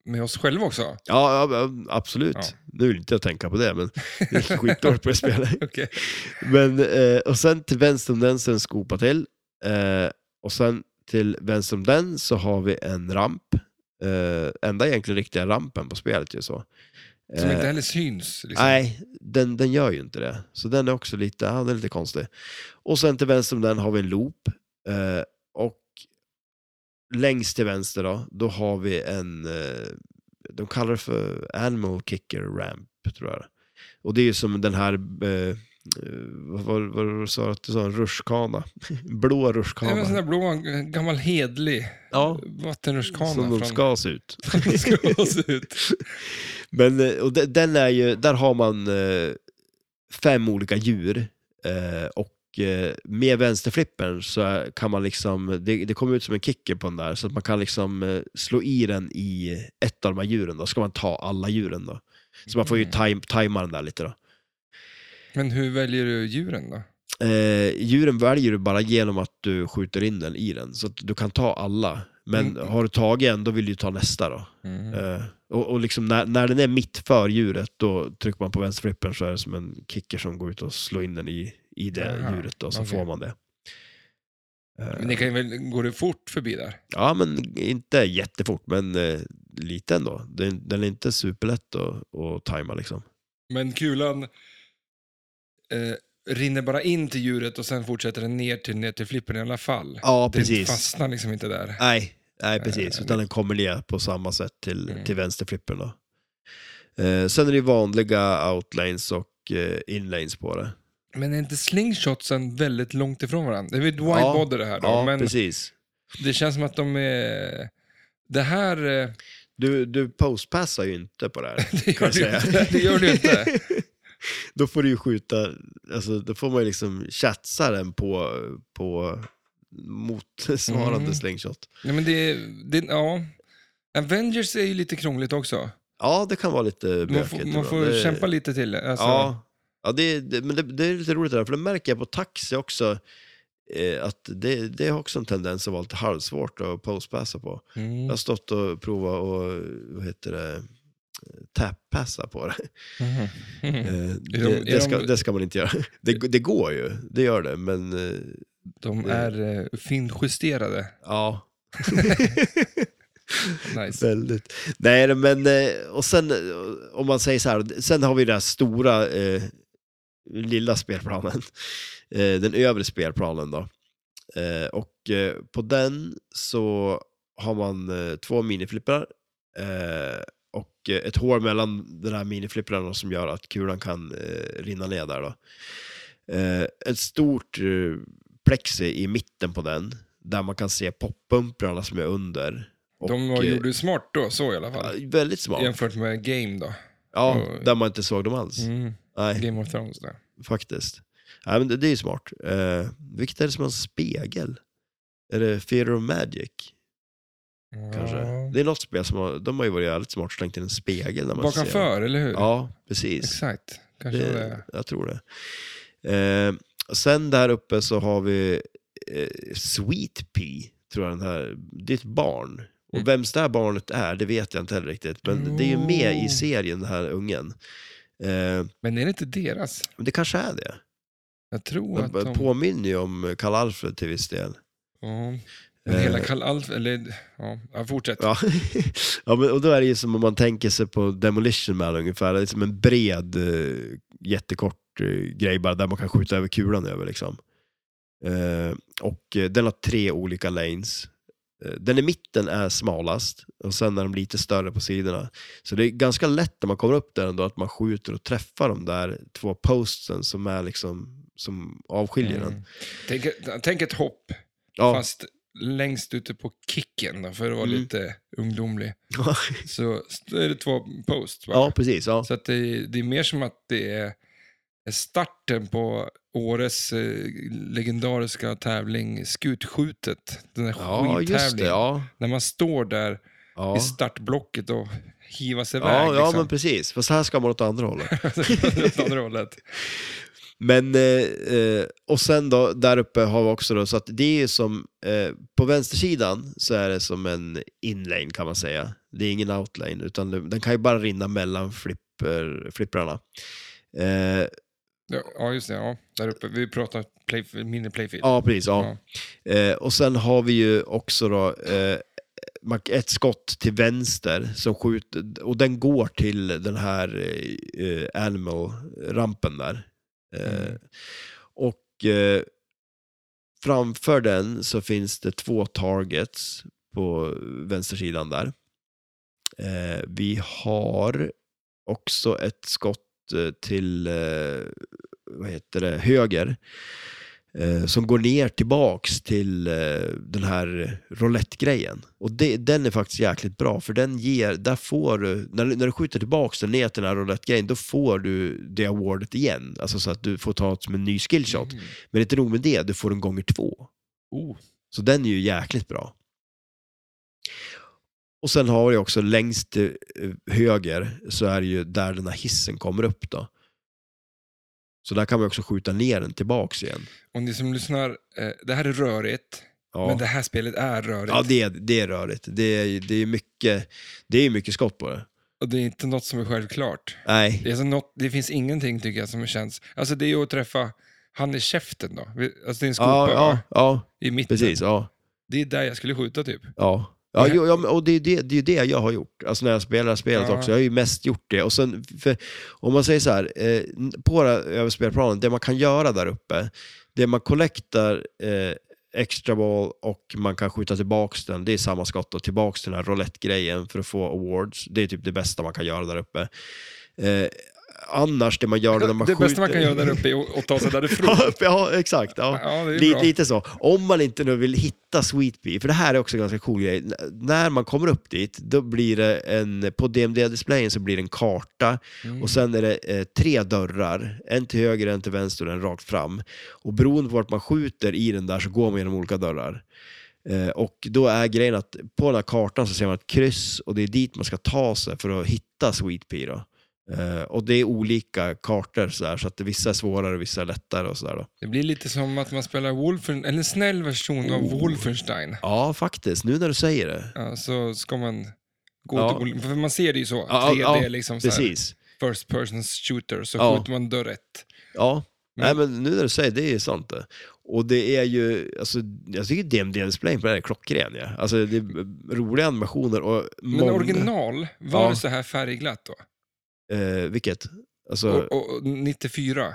S2: med oss själva
S1: [LAUGHS]
S2: också.
S1: Ja, ja, ja, absolut.
S2: Ja.
S1: Nu vill inte jag tänka på det,
S2: [LAUGHS]
S1: men det är skitdåligt på det spelet.
S2: Okej.
S1: Men, eh, och sen till vänster om den så är en skopa till. Eh, och sen till vänster om den så har vi en ramp. Eh, enda egentligen riktiga rampen på spelet ju så.
S2: Som
S1: Eh,
S2: inte heller syns. Liksom.
S1: Nej, den, den gör ju inte det. Så den är också lite, ja, den är lite konstig. Och sen till vänster om den har vi en loop. Eh, och längst till vänster då, då har vi en, eh, de kallar det för Animal Kicker Ramp, tror jag. Och det är ju som den här, eh, eh, vad var vad var det du sa att du sa, en rutschkana. [LAUGHS] Blå
S2: Det är en sån där
S1: rutschkana.
S2: blå, gammal hedlig
S1: Ja,
S2: vattenrutschkana.
S1: som de
S2: från-
S1: ska se ut.
S2: [LAUGHS] ska se ut.
S1: Men eh, och de- den är ju, där har man eh, fem olika djur eh, och eh, med vänsterflippern så är- kan man liksom, det, det kommer ut som en kicker på den där så att man kan liksom eh, slå i den i ett av de här djuren då, ska man ta alla djuren då. Så man får ju
S2: Mm.
S1: tajm, tajma den där lite då.
S2: Men hur väljer du djuren då?
S1: Eh, djuren väljer du bara genom att du skjuter in den i den så att du kan ta alla. Men
S2: Mm.
S1: har du tagit en då vill du ju ta nästa då.
S2: Mm.
S1: Eh, och och liksom när, när den är mitt för djuret, då trycker man på vänsterflippen så är det som en kicker som går ut och slår in den i, i det
S2: Aha,
S1: djuret då, så
S2: okej.
S1: får man det. Eh,
S2: Men det kan ju väl, går det fort förbi där?
S1: Ja, men inte jättefort, men eh, lite ändå. Den, den är inte superlätt att, att tajma liksom.
S2: Men kulan eh, rinner bara in till djuret och sen fortsätter den ner till, ner till flippen i alla fall.
S1: Ja,
S2: Den
S1: precis.
S2: fastnar liksom inte där.
S1: Nej, nej,
S2: Eh,
S1: precis. Utan den kommer ner på samma sätt till,
S2: Mm.
S1: till vänsterflippen då. Eh, sen är det ju vanliga outlanes och eh, inlanes på det.
S2: Men är inte slingshotsen väldigt långt ifrån varandra? Det är väl wide
S1: Ja,
S2: body det här då,
S1: Ja,
S2: men
S1: precis.
S2: det känns som att de är... Det här... eh,
S1: Du, du postpassar ju inte på det här.
S2: [LAUGHS] Det
S1: kan
S2: gör
S1: jag
S2: du ju
S1: säga.
S2: inte. Det gör du ju inte.
S1: [LAUGHS] då får du ju skjuta, alltså, då får man ju liksom chatsa den på, på motsvarande
S2: Mm.
S1: slingshot.
S2: Nej, men det, det... Ja. Avengers är ju lite krångligt också.
S1: Ja, det kan vara lite
S2: Man
S1: bökigt.
S2: får, man
S1: ibland.
S2: får
S1: det,
S2: kämpa lite till. Alltså,
S1: Ja, ja det, det, men det, det är lite roligt det där, för det märker jag på taxi också, eh, att det, det har också en tendens att vara lite halvsvårt att postpassa på. Jag
S2: Mm.
S1: har stått och provat och, vad heter det, tappassa på det.
S2: Mhm. Mhm.
S1: Eh,
S2: Är
S1: Det,
S2: de- är
S1: det, ska,
S2: de-
S1: det ska man inte göra. [LAUGHS] Det, det går ju, det gör det, men eh,
S2: [LAUGHS] De
S1: det-
S2: är eh, finjusterade.
S1: ja.
S2: [LAUGHS] Nice.
S1: Väldigt. Nej, men eh, och sen eh, om man säger så här, sen har vi den här stora eh, lilla spelplanen, [LAUGHS] eh, den övre spelplanen då. Eh, och eh, på den så har man eh, två miniflipprar eh, och eh, ett hål mellan den här miniflipprarna då som gör att kulan kan eh, rinna ner där då. Eh, ett stort eh, plexi i mitten på den där man kan se poppumprarna som är under.
S2: De
S1: Och,
S2: var,
S1: eh,
S2: gjorde det smart då, så i alla fall.
S1: Ja, väldigt smart.
S2: Jämfört med Game då.
S1: Ja,
S2: och-
S1: där man inte såg dem alls.
S2: Mm.
S1: Nej,
S2: Game of Thrones där.
S1: faktiskt. Nej, men det, det är ju smart. Uh, vilket är det som har en spegel? Är det Fear of Magic? Kanske.
S2: Ja.
S1: Det är något spel som har, de har ju varit jävligt smart och slängt in en spegel. När man ser.
S2: Bakanför, eller hur?
S1: Ja, precis.
S2: Exakt. Kanske det...
S1: Det, jag tror det. Eh, sen där uppe så har vi eh, Sweet Pea, tror jag den här, det är ett barn.
S2: Mm.
S1: Och vems det här barnet är, det vet jag inte heller riktigt. Men det är ju med
S2: Oh.
S1: i serien, den här ungen. Eh,
S2: Men är det inte deras?
S1: men det kanske är det.
S2: Oh, Jag tror
S1: De
S2: att de...
S1: påminner ju om Karl Alfred till viss del.
S2: Ja. Men
S1: Eh.
S2: hela Kall Alf, eller... Ja, ja fortsätt.
S1: Ja. [LAUGHS] ja, men, och då är det ju som om man tänker sig på Demolition Man ungefär. Det är som en bred, eh, jättekort eh, grej bara där man kan skjuta över kulan över liksom. Eh, och eh, den har tre olika lanes. Eh, Den i mitten är smalast och sen är de lite större på sidorna. Så det är ganska lätt när man kommer upp där ändå att man skjuter och träffar de där två posten som är liksom som avskiljer den.
S2: Mm. Tänk, tänk ett hopp,
S1: Ja.
S2: fast längst ute på kicken då, för att vara
S1: Mm.
S2: lite ungdomlig. Så så är det två posts,
S1: [LAUGHS]
S2: va?
S1: ja, precis. Ja.
S2: Så att det, det är mer som att det är starten på Åres eh, legendariska tävling Skutskjutet. Den där
S1: ja, just det.
S2: skidtävlingen.
S1: Ja.
S2: När man står där
S1: Ja.
S2: i startblocket och hivas iväg.
S1: Ja, ja men
S2: liksom.
S1: precis. Fast här ska man åt andra hållet.
S2: [LAUGHS] Åt andra hållet.
S1: Men, eh, eh, och sen då, där uppe har vi också då, så att det är ju som, eh, på vänstersidan så är det som en inlane kan man säga. Det är ingen outlane, utan det- den kan ju bara rinna mellan flipper, flipprarna. Eh,
S2: Ja, Ja, just det. Ja. Där uppe. Vi pratar play, mini playfield.
S1: ja, precis. Ja. Eh, och sen har vi ju också då eh, man- ett skott till vänster som skjuter, och den går till den här eh, eh, animal-rampen där. Eh,
S2: Mm.
S1: Och eh, framför den så finns det två targets på vänstersidan där. Eh, vi har också ett skott eh, till, eh, vad heter det, höger. Eh, som går ner tillbaks till eh, den här roulettgrejen. Och det, den är faktiskt jäkligt bra, för den ger, där får du, när, du- när du skjuter tillbaks den ner till den här roulettgrejen, då får du det awardet igen. Alltså så att du får ta det som en ny skillshot.
S2: Mm.
S1: Men inte nog med det, du får den gånger två.
S2: Oh.
S1: Så den är ju jäkligt bra. Och sen har vi också längst till eh, höger så är det ju där den här hissen kommer upp då. Så där kan man också skjuta ner den tillbaks igen.
S2: Och ni som lyssnar, eh, det här är rörigt,
S1: Ja,
S2: men det här spelet är rörigt.
S1: ja det, är, det är rörigt. Det är, det, är mycket, det är mycket skott på det.
S2: Och det är inte något som är självklart. Det,
S1: Nej,
S2: är så något, det finns ingenting tycker jag som känns... Alltså det är ju att träffa han i käften då. Vi- Alltså det är en skopa
S1: ja, ja,
S2: va?
S1: ja,
S2: i mitten.
S1: precis. Ja,
S2: Det är där jag skulle skjuta typ.
S1: ja. Ja, jo, ja, men- och det är det, det är ju det jag har gjort, alltså när jag spelar spelet
S2: Ja.
S1: också. Jag har ju mest gjort det. Och sen, för, om man säger så här, eh, på det här överspelplanen, det man kan göra där uppe, det man collectar eh, extra ball och man kan skjuta tillbaks den, det är samma skott och tillbaks till den här roulette-grejen för att få awards. Det är typ det bästa man kan göra där uppe. Eh, annars, det man gör när man
S2: det
S1: skjuter...
S2: bästa man kan göra där uppe är att ta
S1: [LAUGHS]
S2: sig därifrån.
S1: Ja, ja, exakt. Ja.
S2: Ja, det är bra.
S1: lite, lite så. Om man inte nu vill hitta Sweet Bee, för det här är också en ganska cool grej. N- när man kommer upp dit, då blir det en, på DMD-displayen så blir det en karta
S2: Mm.
S1: och sen är det eh, tre dörrar, en till höger, en till vänster och en rakt fram. Och beroende på vart man skjuter i den där så går man genom olika dörrar. Eh, och då är grejen att på den här kartan så ser man ett kryss och det är dit man ska ta sig för att hitta Sweet Pea. Då. Eh, och det är olika kartor så, där, så att vissa är svårare och vissa är lättare och sådär. Då.
S2: Det blir lite som att man spelar Wolfen, eller en snäll version av
S1: Oh.
S2: Wolfenstein.
S1: Ja, faktiskt. Nu när du säger det.
S2: Ja, så ska man gå
S1: Ja.
S2: till olika... För man ser det ju så,
S1: Ja,
S2: 3D
S1: ja, ja,
S2: liksom så här,
S1: Precis.
S2: first person shooter, så
S1: Ja.
S2: skjuter man då rätt.
S1: Ja. Nej,
S2: Mm.
S1: men nu när du säger det, det är sant det. Och det är ju, alltså, jag tycker DMD-displayen på det här är klockren. Ja. Alltså, det är roliga animationer och
S2: Men
S1: många-
S2: original, var
S1: Ja.
S2: det så här färgglatt då?
S1: Eh, vilket? Alltså,
S2: Och, och, och 94?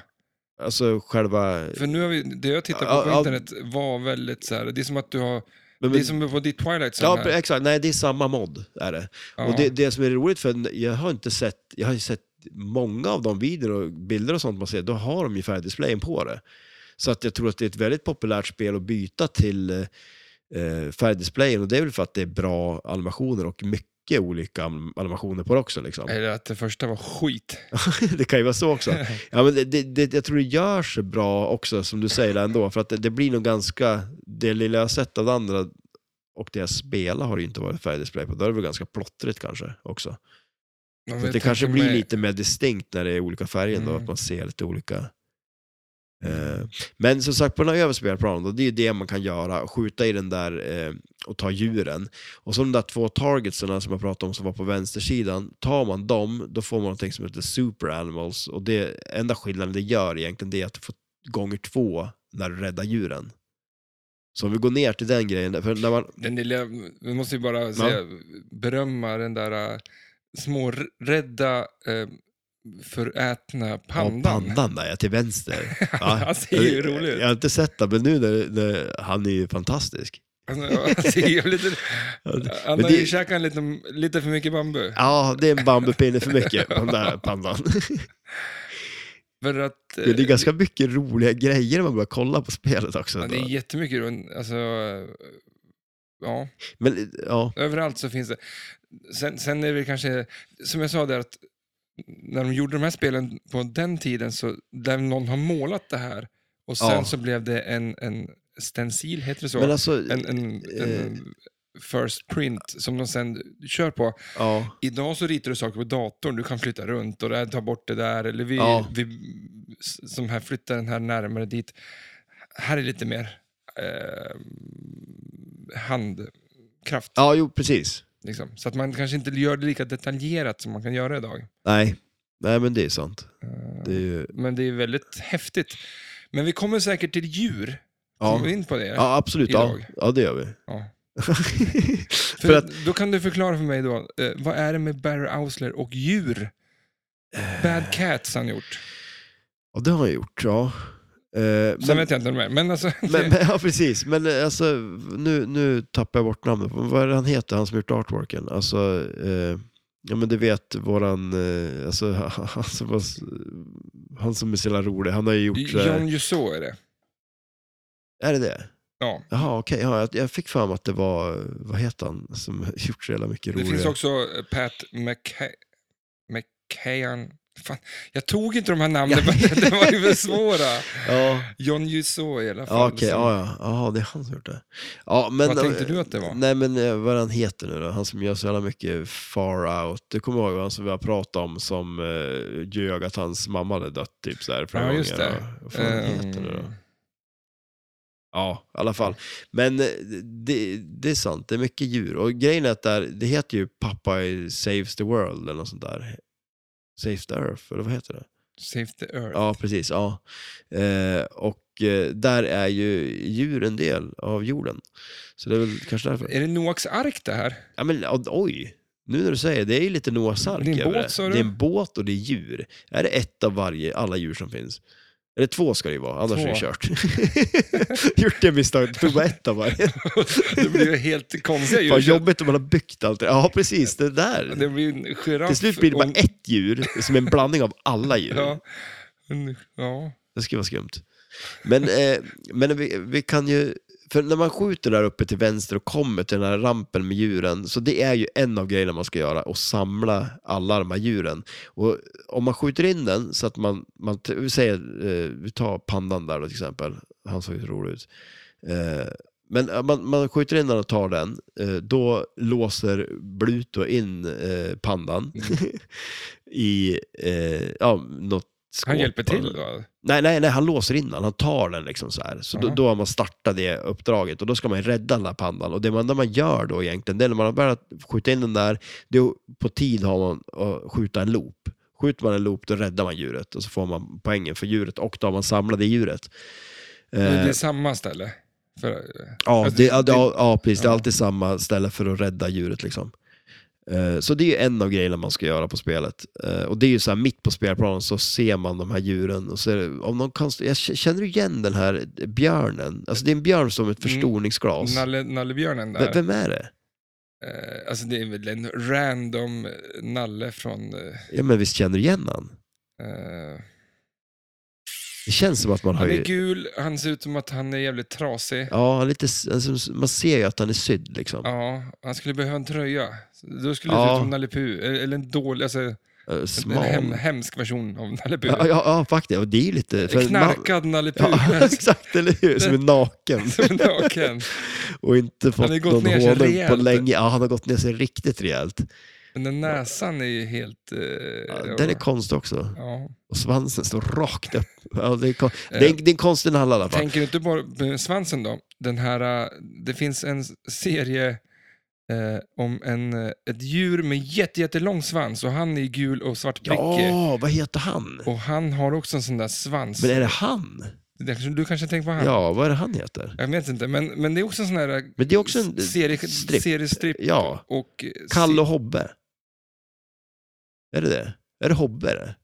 S1: alltså själva...
S2: För nu har vi, det jag tittar
S1: Ja,
S2: på på
S1: ja.
S2: internet var väldigt så här, det är som att du har,
S1: Men-
S2: det är som på ditt Twilight Zone
S1: Ja,
S2: här.
S1: pre- exakt. Nej, det är samma mod. Är det.
S2: Ja.
S1: Och det, det som är roligt, för jag har inte sett, jag har ju sett många av de videor och bilder och sånt man ser, då har de ju färgdisplayen på det. Så att jag tror att det är ett väldigt populärt spel att byta till eh, färgdisplayen och det är väl för att det är bra animationer och mycket olika anim- animationer på det också. Liksom.
S2: Eller att det första var skit.
S1: [LAUGHS] det kan ju vara
S2: [LAUGHS]
S1: så också. Ja, men det, det, det, jag tror det gör sig bra också, som du säger där ändå, för att det, det blir nog ganska, det lilla jag har sett av det andra och det jag spelar har det ju inte varit färgdisplay på, då är det väl ganska plottrigt kanske också.
S2: Ja, men
S1: Så
S2: jag
S1: att det kanske
S2: tänker
S1: blir
S2: mig-
S1: lite mer distinkt när det är olika färger då,
S2: Mm.
S1: att man ser lite olika. Eh, Men som sagt, på den här överspelplanen, då, det är ju det man kan göra, skjuta i den där eh, och ta djuren. Och så de där två targetsen som jag pratade om som var på vänstersidan, tar man dem, då får man någonting som heter super animals och det enda skillnaden det gör egentligen det är att du får gånger två när du räddar djuren. Så om vi går ner till den grejen, för när man,
S2: Den lilla, vi måste ju bara säga, berömma den där äh, små r- rädda äh, förätna pandan.
S1: Ja, pandan där, ja, till vänster.
S2: [LAUGHS]
S1: Ja.
S2: Han ser ju rolig ut.
S1: Jag har inte sett det, men nu när, när, han är ju fantastisk.
S2: [LAUGHS] Alltså, han ser ju lite,
S1: Ja, det-
S2: han
S1: [LAUGHS] men
S2: har ju
S1: det-
S2: käkat lite, lite för mycket bambu.
S1: Ja, det är en bambupinne för mycket på den där
S2: [LAUGHS]
S1: pandan.
S2: För att, äh,
S1: Det är ganska mycket roliga grejer när man börjar kolla på spelet också.
S2: ja, det är jättemycket, ro- alltså, äh, ja.
S1: Men, ja,
S2: Överallt så finns det. Sen, sen är det kanske, som jag sa där, att när de gjorde de här spelen på den tiden så där någon har målat det här och sen
S1: Ja.
S2: så blev det en, en stencil, heter det så?
S1: men alltså,
S2: en, en,
S1: eh.
S2: en first print som de sen kör på.
S1: ja.
S2: Idag så ritar du saker på datorn, du kan flytta runt och där, ta bort det där eller vi,
S1: Ja.
S2: vi s- som här flyttar den här närmare dit. Här är lite mer eh, handkraft.
S1: ja, jo precis.
S2: Liksom. Så att man kanske inte gör det lika detaljerat som man kan göra idag.
S1: Nej, nej men det är sant. Det är ju,
S2: Men det är väldigt häftigt. Men vi kommer säkert till djur.
S1: Ja.
S2: Kommer vi in på det?
S1: ja, absolut. Ja.
S2: Idag.
S1: ja, det gör vi.
S2: Ja.
S1: [LAUGHS] För att
S2: Då kan du förklara för mig då, eh, vad är det med Barry Ausler och djur?
S1: Eh.
S2: Bad Cats han gjort.
S1: Ja, det har jag gjort, ja. Eh,
S2: Sen
S1: men,
S2: vet jag inte mer, men alltså...
S1: men, [LAUGHS] men, ja, precis. Men eh, alltså, nu, nu tappar jag bort namnet. Vad är det han heter, han som gjort artworken? Alltså, eh, ja men du vet våran, eh, alltså [LAUGHS] han som, var, s- han som är så jävla rolig, han har ju gjort, eh,
S2: [LAUGHS] John Jusso är det.
S1: är det det?
S2: Ja.
S1: Jaha, okej. Ja, jag, jag fick för mig att det var, vad heter han, som [LAUGHS] gjort så jävla mycket
S2: Det
S1: roliga.
S2: finns också eh, Pat McKay- McKayan. Fan, jag tog inte de här namnen, [LAUGHS]
S1: Ja.
S2: det
S1: [LAUGHS]
S2: var ju för svåra.
S1: Ja,
S2: John Jusso i alla
S1: ja
S2: fall.
S1: okej.
S2: som-
S1: Ja, ja. Jaha, det är han som gjort det. Ja, men,
S2: Vad tänkte du att det var?
S1: Nej, men eh, vad han heter nu då? Han som gör så jävla mycket far out. Du kommer ihåg han som vi har pratat om som eh, ljög att hans mamma hade dött typ så här flera
S2: Ja, just
S1: gånger,
S2: det.
S1: va? Vad fan
S2: Ehm,
S1: heter det då? Ja, i alla fall. Men eh, det, det är sant, det är mycket djur. Och grejen är att där, det heter ju Popeye Saves the World eller något sånt där. Saves the Earth, eller vad heter det?
S2: Save the Earth.
S1: Ja, precis. Ja. Eh, och eh, där är ju djur en del av jorden. Så det är väl kanske därför.
S2: Är det Noaks ark det här? [LAUGHS]
S1: Ja, men o- oj! Nu när du säger det, det är ju lite Noahs ark
S2: Det är en
S1: över
S2: båt,
S1: det.
S2: sa du?
S1: det är en båt och det är djur. Är det ett av varje, alla djur som finns? Eller två ska det ju vara, annars är
S2: Två.
S1: det kört. [LAUGHS] Gjort det misstaget, tog bara ett av
S2: [LAUGHS]
S1: varje.
S2: Det blir ju helt konstiga
S1: Vad
S2: djur.
S1: jobbigt om man har byggt allt det Ja, precis, det där.
S2: Det blir en giraff.
S1: Till slut blir det bara
S2: och-
S1: ett djur som är en blandning av alla djur.
S2: Ja. En- ja.
S1: Det skulle vara skumt. Men, eh, men vi, vi kan ju... För när man skjuter där uppe till vänster och kommer till den här rampen med djuren, så det är ju en av grejerna man ska göra, och samla alla de här djuren. Och om man skjuter in den så att man, man t- vi säger, eh, vi tar pandan där då till exempel, han såg ju så rolig ut. Eh, men eh, man, man skjuter in den och tar den, eh, då låser Bluto in eh, pandan
S2: Mm.
S1: [LAUGHS] i eh, ja, något skåp.
S2: Han hjälper
S1: eller-
S2: till då?
S1: Nej, nej, nej, han låser in den. Han tar den liksom så här. Så då,
S2: Aha.
S1: då har man startat det uppdraget och då ska man ju rädda den där pandan. Och det man, det man gör då egentligen, det är när man har börjat skjuta in den där, det är, på tid har man att skjuta en loop. Skjuter man en loop då räddar man djuret och så får man poängen för djuret och då har man samlat det djuret.
S2: Det
S1: Eh,
S2: är samma ställe? För,
S1: Ja,
S2: Alltså,
S1: det,
S2: det-
S1: ja, det, ja, ja, precis. Det är
S2: ja.
S1: alltid samma ställe för att rädda djuret. Liksom. Eh, Så det är ju en av grejerna man ska göra på spelet. Eh, Och det är ju så här mitt på spelplanen så ser man de här djuren. Och så är det, om någon konst... Jag k- känner du igen den här björnen? Alltså det är en björn som ett
S2: Mm.
S1: förstoringsglas.
S2: Nalle, Nallebjörnen
S1: V-
S2: där.
S1: Vem är det?
S2: Eh, alltså det är väl en random eh, Nalle från... eh,
S1: Ja men visst känner du igen han?
S2: eh,
S1: Det känns som att man har
S2: han är
S1: ju...
S2: gul, han ser ut som att han är jävligt trasig. Ja.
S1: Ja, han är lite... s- alltså, man ser ju att han är sydd liksom.
S2: han skulle behöva en tröja. Då skulle det
S1: Ja.
S2: se ut som Nalle Puh, eh, eller en dålig, alltså en-
S1: Eh,
S2: en
S1: Smal.
S2: hem, hemsk version av Nalle Puh.
S1: Ja, ja, ja, faktiskt. Och det är ju lite... för en man- [LAUGHS]
S2: Knarkad Nalle Puh.
S1: Ja,
S2: [LAUGHS]
S1: exakt, eller hur? Som är naken.
S2: Som är naken.
S1: och inte fått
S2: har ju gått
S1: någon
S2: ner sig
S1: honung på
S2: rejält.
S1: länge. Ja, han har gått ner sig riktigt rejält.
S2: Men den näsan är ju helt... eh,
S1: Ja, Den är konstig också.
S2: ja.
S1: Och svansen står rakt upp. Ja, det, är
S2: [LAUGHS]
S1: kon- det, är, det är en konstig nall i alla fall.
S2: Tänker du inte bara på svansen då? Den här, eh, det finns en serie eh, om en, eh, ett djur med jätte, jättelång svans och han är gul och svart prickig.
S1: Ja, vad heter han?
S2: Och han har också en sån där svans.
S1: Men är det han?
S2: Det kanske- Du kanske tänker på han?
S1: Ja, vad är det han heter?
S2: Jag vet inte, men, men det är också en sån här eh,
S1: Men det är också en
S2: serie,
S1: strip.
S2: seriestripp.
S1: Ja,
S2: Och, eh,
S1: Kalle
S2: se-
S1: och Hobbe. Är det det? Är det Hobbe det?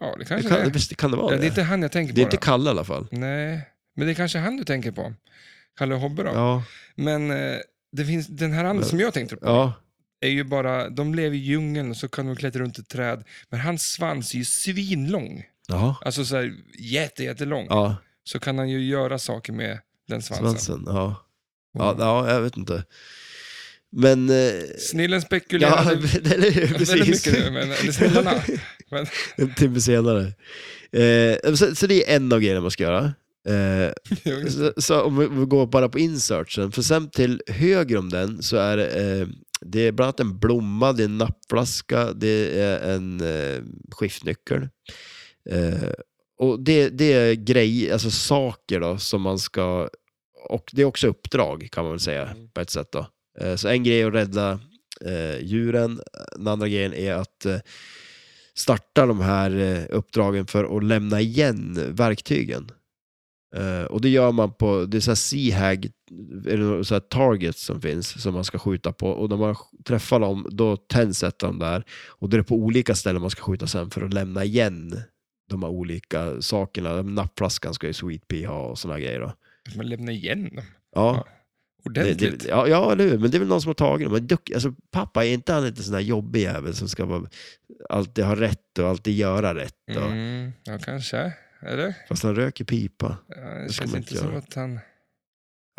S2: Ja, det
S1: det
S2: kanske
S1: kan,
S2: det är.
S1: visst, kan det vara
S2: Ja,
S1: det?
S2: det är inte han jag tänker
S1: det är
S2: på.
S1: inte
S2: då.
S1: Kalle i alla fall.
S2: Nej, men det är kanske han du tänker på. Kalle och Hobbe då.
S1: Ja,
S2: Men eh, det finns, den här andra
S1: Men-
S2: som jag tänkte på.
S1: ja.
S2: är ju bara, de lever i djungeln och så kan de klättra runt i träd. Men hans svans är ju svinlång.
S1: ja.
S2: Alltså så här jätte, jättelång.
S1: ja.
S2: Så kan han ju göra saker med den svansen.
S1: svansen. Ja. Ja,
S2: Mm.
S1: ja, jag vet inte. Men... eh,
S2: Snillen
S1: Ja, [LAUGHS]
S2: spekulerade
S1: men- eller hur?
S2: väldigt
S1: Precis.
S2: mycket nu, men
S1: [LAUGHS]
S2: eller snillarna. Men,
S1: en timme senare. Eh, så, så det är en av grejerna man ska göra. Eh, så, så om vi, vi går bara på insertsen, för sen till höger om den så är det, eh, det är bland annat en blomma, det är en nappflaska, det är en eh, skiftnyckel. Eh, och det, det är grejer, alltså saker då som man ska, och det är också uppdrag kan man väl säga på ett sätt då. Eh, så en grej är att rädda eh, djuren, den andra grejen är att eh, starta de här eh, uppdragen för att lämna igen verktygen. Eh, och det gör man på, det är så här Seahag, eller några så här targets som finns som man ska skjuta på. Och när man sk- träffar dem, då tänds ett av dem där. Och då är det på olika ställen man ska skjuta sen för att lämna igen de här olika sakerna. Nappflaskan ska ju Sweet Pea ha och sådana grejer då.
S2: Man lämnar igen dem.
S1: Ja, det,
S2: Ordentligt.
S1: det, ja, ja, eller hur. Men det är väl någon som har tagit dem. Men duck, alltså, pappa, är inte han lite sån där jobbig jävel som ska vara, alltid ha rätt och alltid göra rätt? Och,
S2: Mm, ja, kanske. Eller?
S1: Fast han röker pipa.
S2: Ja, det,
S1: ska
S2: känns
S1: man
S2: inte
S1: inte
S2: som
S1: göra.
S2: att han...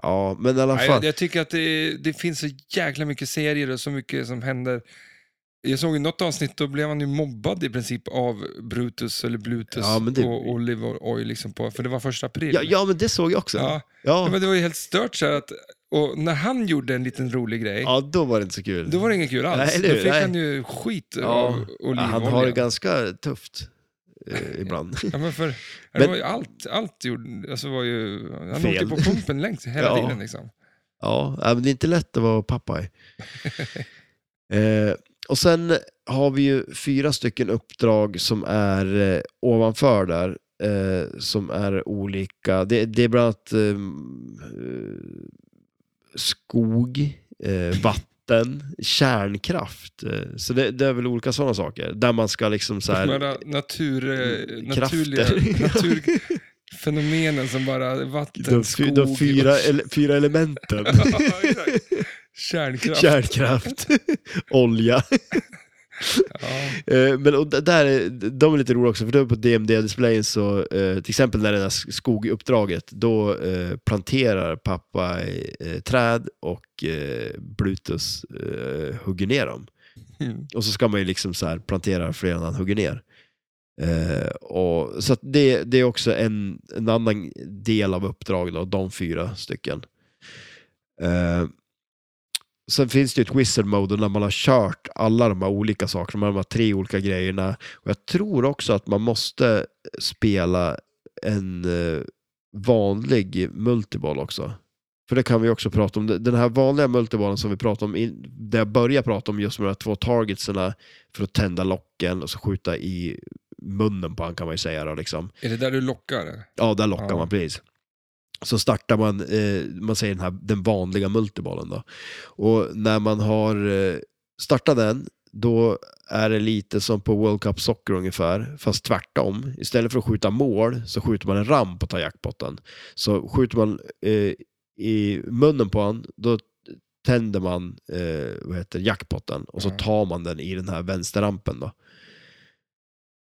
S1: Ja, men i alla
S2: Nej,
S1: fall.
S2: jag, jag tycker att det, det finns så jäkla mycket serier och så mycket som händer. Jag såg i något avsnitt, då blev han ju mobbad i princip av Brutus eller Blutus
S1: Ja, men det-
S2: och Oliver Oy, liksom på, för det var första april.
S1: Ja, ja, men det såg jag också. Ja,
S2: Ja.
S1: ja.
S2: Men det var ju helt stört så här att, och när han gjorde en liten rolig grej,
S1: då var det inte så kul.
S2: då var det inget kul
S1: Nej,
S2: alls.
S1: eller
S2: då
S1: hur?
S2: fick
S1: Nej.
S2: han ju skit av
S1: ja. ja,
S2: olivolja.
S1: han har det ganska tufft eh,
S2: [LAUGHS]
S1: ibland.
S2: Ja, men för, ja, det
S1: Men-
S2: var ju allt, allt gjorde, alltså var ju, han
S1: Fel.
S2: åkte på pumpen längst hela
S1: Ja.
S2: tiden liksom.
S1: Ja, ja, men det är inte lätt att vara pappa. i. eh, och sen har vi ju fyra stycken uppdrag som är eh, ovanför där. Eh, som är olika. Det, det är bland annat eh, eh, skog, eh, vatten, kärnkraft. Eh, så det, det är väl olika sådana saker. Där man ska liksom så här...
S2: Några natur, eh,
S1: [LAUGHS]
S2: naturliga
S1: Krafter.
S2: naturfenomenen som bara vatten,
S1: De, fy,
S2: skog,
S1: de fyra, ele, fyra elementen.
S2: [LAUGHS] Ja, exakt. kärnkraft.
S1: Kärnkraft, olja.
S2: Ja.
S1: Eh, men och d- där, är- de är lite roliga också, för då på DMD-displayen så, eh, till exempel när det där skoguppdraget, då eh, planterar pappa eh, träd och eh, Brutus eh, hugger ner dem.
S2: Mm.
S1: Och så ska man ju liksom så här plantera fler än han hugger ner. Eh, och, så att det, det är också en, en annan del av uppdragen, då, de fyra stycken. Eh, sen finns det ju ett wizard mode och när man har kört alla de här olika sakerna, de här tre olika grejerna. Och jag tror också att man måste spela en eh, vanlig multiball också. För det kan vi också prata om. Den här vanliga multiballen som vi pratade om, in- där jag började prata om just med de här två targetserna för att tända locken och så skjuta i munnen på han kan man ju säga då liksom.
S2: Är det där du lockar? eller?
S1: Ja, där lockar
S2: Ja.
S1: man precis. Så startar man, eh, man säger den, här, den vanliga multibollen då. Och när man har eh, startat den, då är det lite som på World Cup Soccer ungefär, fast tvärtom. Istället för att skjuta mål så skjuter man en ramp och tar jackpotten. Så skjuter man eh, i munnen på han, då tänder man eh, vad heter, det, jackpotten och så
S2: Ja.
S1: tar man den i den här vänsterrampen då.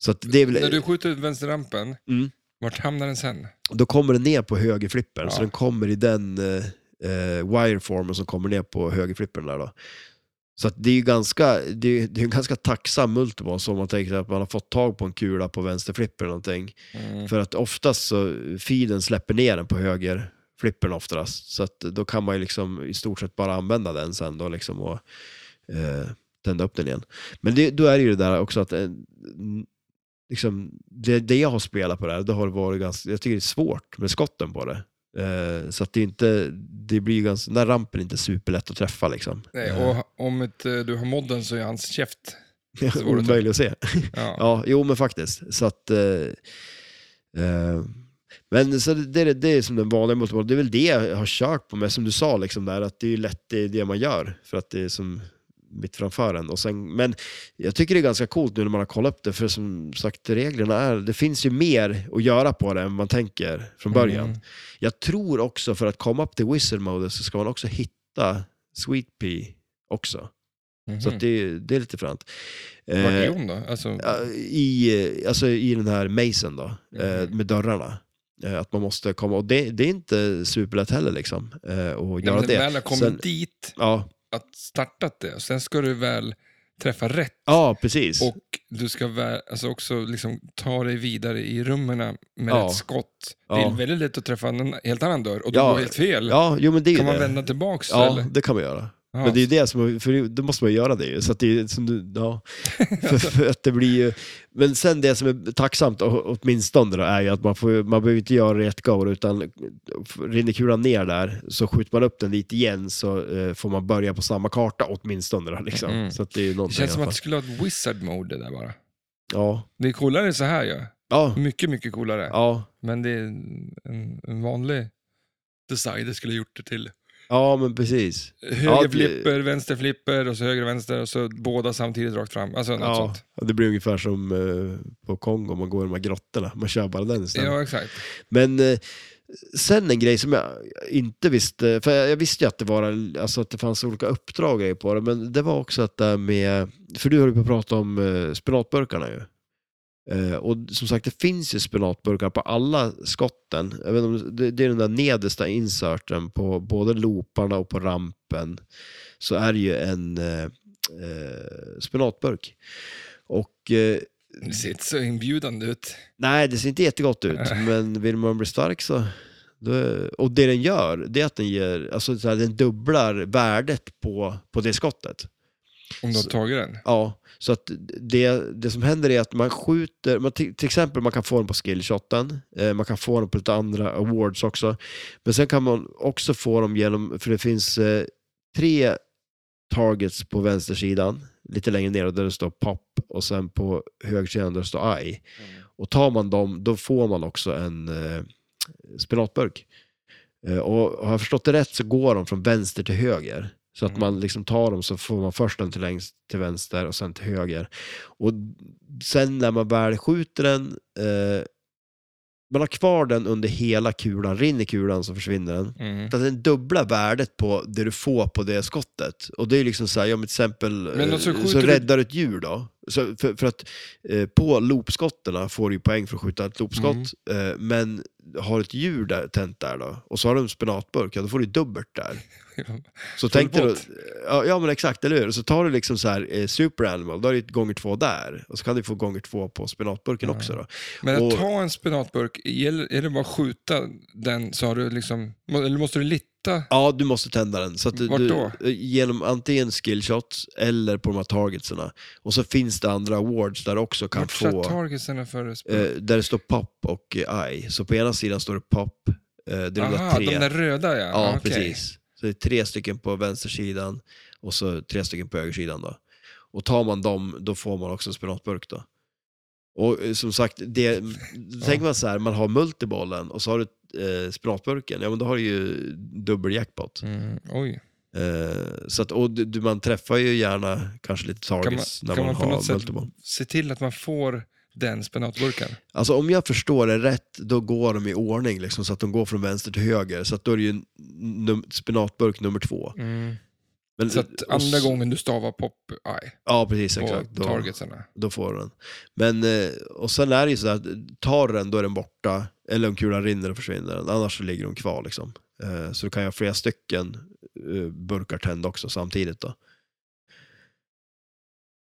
S1: Så att det är väl...
S2: När du skjuter ut vänsterrampen,
S1: Mm.
S2: vart hamnar den sen?
S1: Då kommer den ner på högerflippen,
S2: Ja.
S1: så den kommer i den eh, eh, wireformen som kommer ner på högerflippen där då. Så att det är ju ganska, det är, det är en ganska tacksam multiball så om man tänker sig att man har fått tag på en kula på vänsterflippen eller någonting.
S2: Mm.
S1: För att oftast så, feeden släpper ner den på högerflippen oftast. Så att då kan man ju liksom i stort sett bara använda den sen då liksom och eh, tända upp den igen. Men det, då är det ju det där också att eh, n- liksom, det, det jag har spelat på det här, det har varit ganska, jag tycker det är svårt med skotten på det. Eh, så att det är inte, det blir ju ganska, den där rampen är inte superlätt att träffa liksom.
S2: Nej, och om inte du har modden så är hans käft.
S1: Eh, [LAUGHS]
S2: så var det typ-
S1: Omöjligt att se.
S2: Ja.
S1: Ja, jo men faktiskt. Så att... Eh, eh, men så det, det, är- det är som den vanliga multibollen. Det är väl det jag har kört på med, som du sa, liksom där, att det är ju lätt det, är det man gör. För att det är som mitt framför en. Och sen, men jag tycker det är ganska coolt nu när man har kollat upp det, för som sagt reglerna är, det finns ju mer att göra på det än man tänker från början.
S2: Mm.
S1: Jag tror också för att komma upp till wizard mode så ska man också hitta sweet pea också. Så att det, det är lite fränt.
S2: Mhm. Vart är
S1: Eh,
S2: hon då? Alltså,
S1: Ja, i, eh, alltså i den här mazen då, eh,
S2: Mhm.
S1: med dörrarna. Eh, Att man måste komma, och det, det är inte superlätt heller liksom, eh, att
S2: när
S1: göra
S2: man
S1: det.
S2: väl har kommit
S1: Sen-
S2: dit,
S1: Ja,
S2: att startat det, sen ska du väl träffa rätt
S1: ja precis.
S2: Och du ska vä- alltså också liksom ta dig vidare i rummen med
S1: Ja.
S2: ett skott. Det
S1: Ja.
S2: är väldigt lätt att träffa en helt annan dörr och då
S1: Ja.
S2: går helt fel.
S1: ja, jo men det är ju
S2: Kan man
S1: det.
S2: vända tillbaks
S1: Ja,
S2: eller?
S1: det kan man göra.
S2: Ja.
S1: Men det är ju det som, för då måste man ju göra det ju. Så att det är som du, ja. [LAUGHS] för, för att det blir ju, men sen det som är tacksamt, å- åtminstone då, är ju att man, får, man behöver inte göra det i ett go, utan rinner kulan ner där, så skjuter man upp den dit igen så eh, får man börja på samma karta åtminstone då, liksom.
S2: Mm.
S1: Så att det är ju
S2: Det
S1: någonting
S2: känns som
S1: i
S2: att
S1: alla
S2: det
S1: fall.
S2: skulle ha ett wizard mode det där bara.
S1: Ja.
S2: Det är coolare så här ju.
S1: Ja,
S2: Mycket, mycket coolare.
S1: ja,
S2: Men det är en, en vanlig designer skulle ha gjort det till.
S1: ja men precis.
S2: Höger
S1: Ja, det-
S2: flipper, vänster flipper och så höger och vänster och så båda samtidigt rakt fram. Alltså något
S1: Ja,
S2: sånt.
S1: det blir ungefär som eh, på Kongo, man går i de här grottorna, man kör bara den istället.
S2: Ja, exakt.
S1: Men eh, sen en grej som jag inte visste, för jag visste ju att det, var, alltså att det fanns olika uppdrag och grejer på det, men det var också att det här med, för du höll ju på att prata om eh, spenatburkarna ju. Eh, och som sagt, det finns ju spenatburkar på alla skotten. Jag vet inte om, det, det är den där nedersta inserten på både looparna och på rampen. Så är det ju en eh, eh, spenatburk. Och eh,
S2: Det ser inte så inbjudande ut.
S1: Nej, det ser inte jättegott ut, men vill man bli stark så... Då, och det den gör, det är att den ger, alltså så här, den dubblar värdet på, på det skottet.
S2: Om du har
S1: Så-
S2: tagit den.
S1: Ja, så att det, det som händer är att man skjuter, man, till, till exempel man kan få den på skillshoten, eh, man kan få den på lite andra awards också, men sen kan man också få dem genom, för det finns eh, tre targets på vänstersidan, lite längre ner där det står pop och sen på högersidan där det står eye. Och tar man dem, då får man också en eh, spenatburk. Eh, och har jag förstått det rätt så går de från vänster till höger. Så att
S2: Mm.
S1: man liksom tar dem så får man först den till längst till vänster och sen till höger. Och sen när man väl skjuter den, eh, man har kvar den under hela kulan, rinner kulan så försvinner den.
S2: Mm. [LAUGHS]
S1: Att den dubbla värdet på det du får på det skottet. Och det är ju liksom så här, ja men till exempel
S2: Men
S1: eh,
S2: alltså,
S1: så
S2: skjuter du-
S1: räddar du ett djur då. Så för, för att eh, på loopskotten får du ju poäng för att skjuta ett loopskott.
S2: Mm.
S1: Eh, men har ett djur där, tänt där då, och så har du en spenatburk, ja då får du ju dubbelt
S2: [LAUGHS]
S1: där. Så tänkte du,
S2: Fullbott.
S1: ja, ja men exakt, eller hur? Så tar du liksom så här eh, super animal, då är det ett gånger två där. Och så kan du få gånger två på spenatburken också då.
S2: Men
S1: Och-
S2: att ta en spenatburk, gäller- är det bara att skjuta den så har du liksom, eller måste du litta?
S1: Ja, du måste tända den. Så att du,
S2: Vart då?
S1: Du, genom antingen skillshots eller på de här targetserna. Och så finns det andra awards där du också kan
S2: Vart
S1: få,
S2: satt targetsen för spen-
S1: eh, där det står pop och eh, eye. Så på ena sidan står det pop, eh, det är de där
S2: Aha,
S1: tre.
S2: de där röda ja.
S1: ja,
S2: Ah, okej.
S1: precis. Så det är tre stycken på vänstersidan och så tre stycken på högersidan då. Och tar man dem, då får man också en spenatburk då. Och eh, som sagt, det, tänker man så här, man har multibollen och så har du eh, spenatburken, ja men då har du ju dubbel jackpot.
S2: Mm, oj.
S1: Eh, så att, och du, du, man träffar ju gärna kanske lite
S2: Kan man,
S1: targets när
S2: kan
S1: man,
S2: man på något
S1: har
S2: sätt
S1: multiboll.
S2: se till att man får den spenatburken?
S1: Alltså om jag förstår det rätt, då går de i ordning liksom, så att de går från vänster till höger. Så att då är det ju n- num- spenatburk nummer två. Men,
S2: Så att
S1: Mm. och s-
S2: andra gången du stavar pop-eye
S1: Ja, precis.
S2: på
S1: Exakt. Då,
S2: targetserna.
S1: då får du den. Men, eh, och sen är det ju sådär, att tar du den då är den borta. Eller om kulan rinner och försvinner den. Annars så ligger de kvar liksom. Eh, så du kan ju ha flera stycken eh, burkar tända också samtidigt då.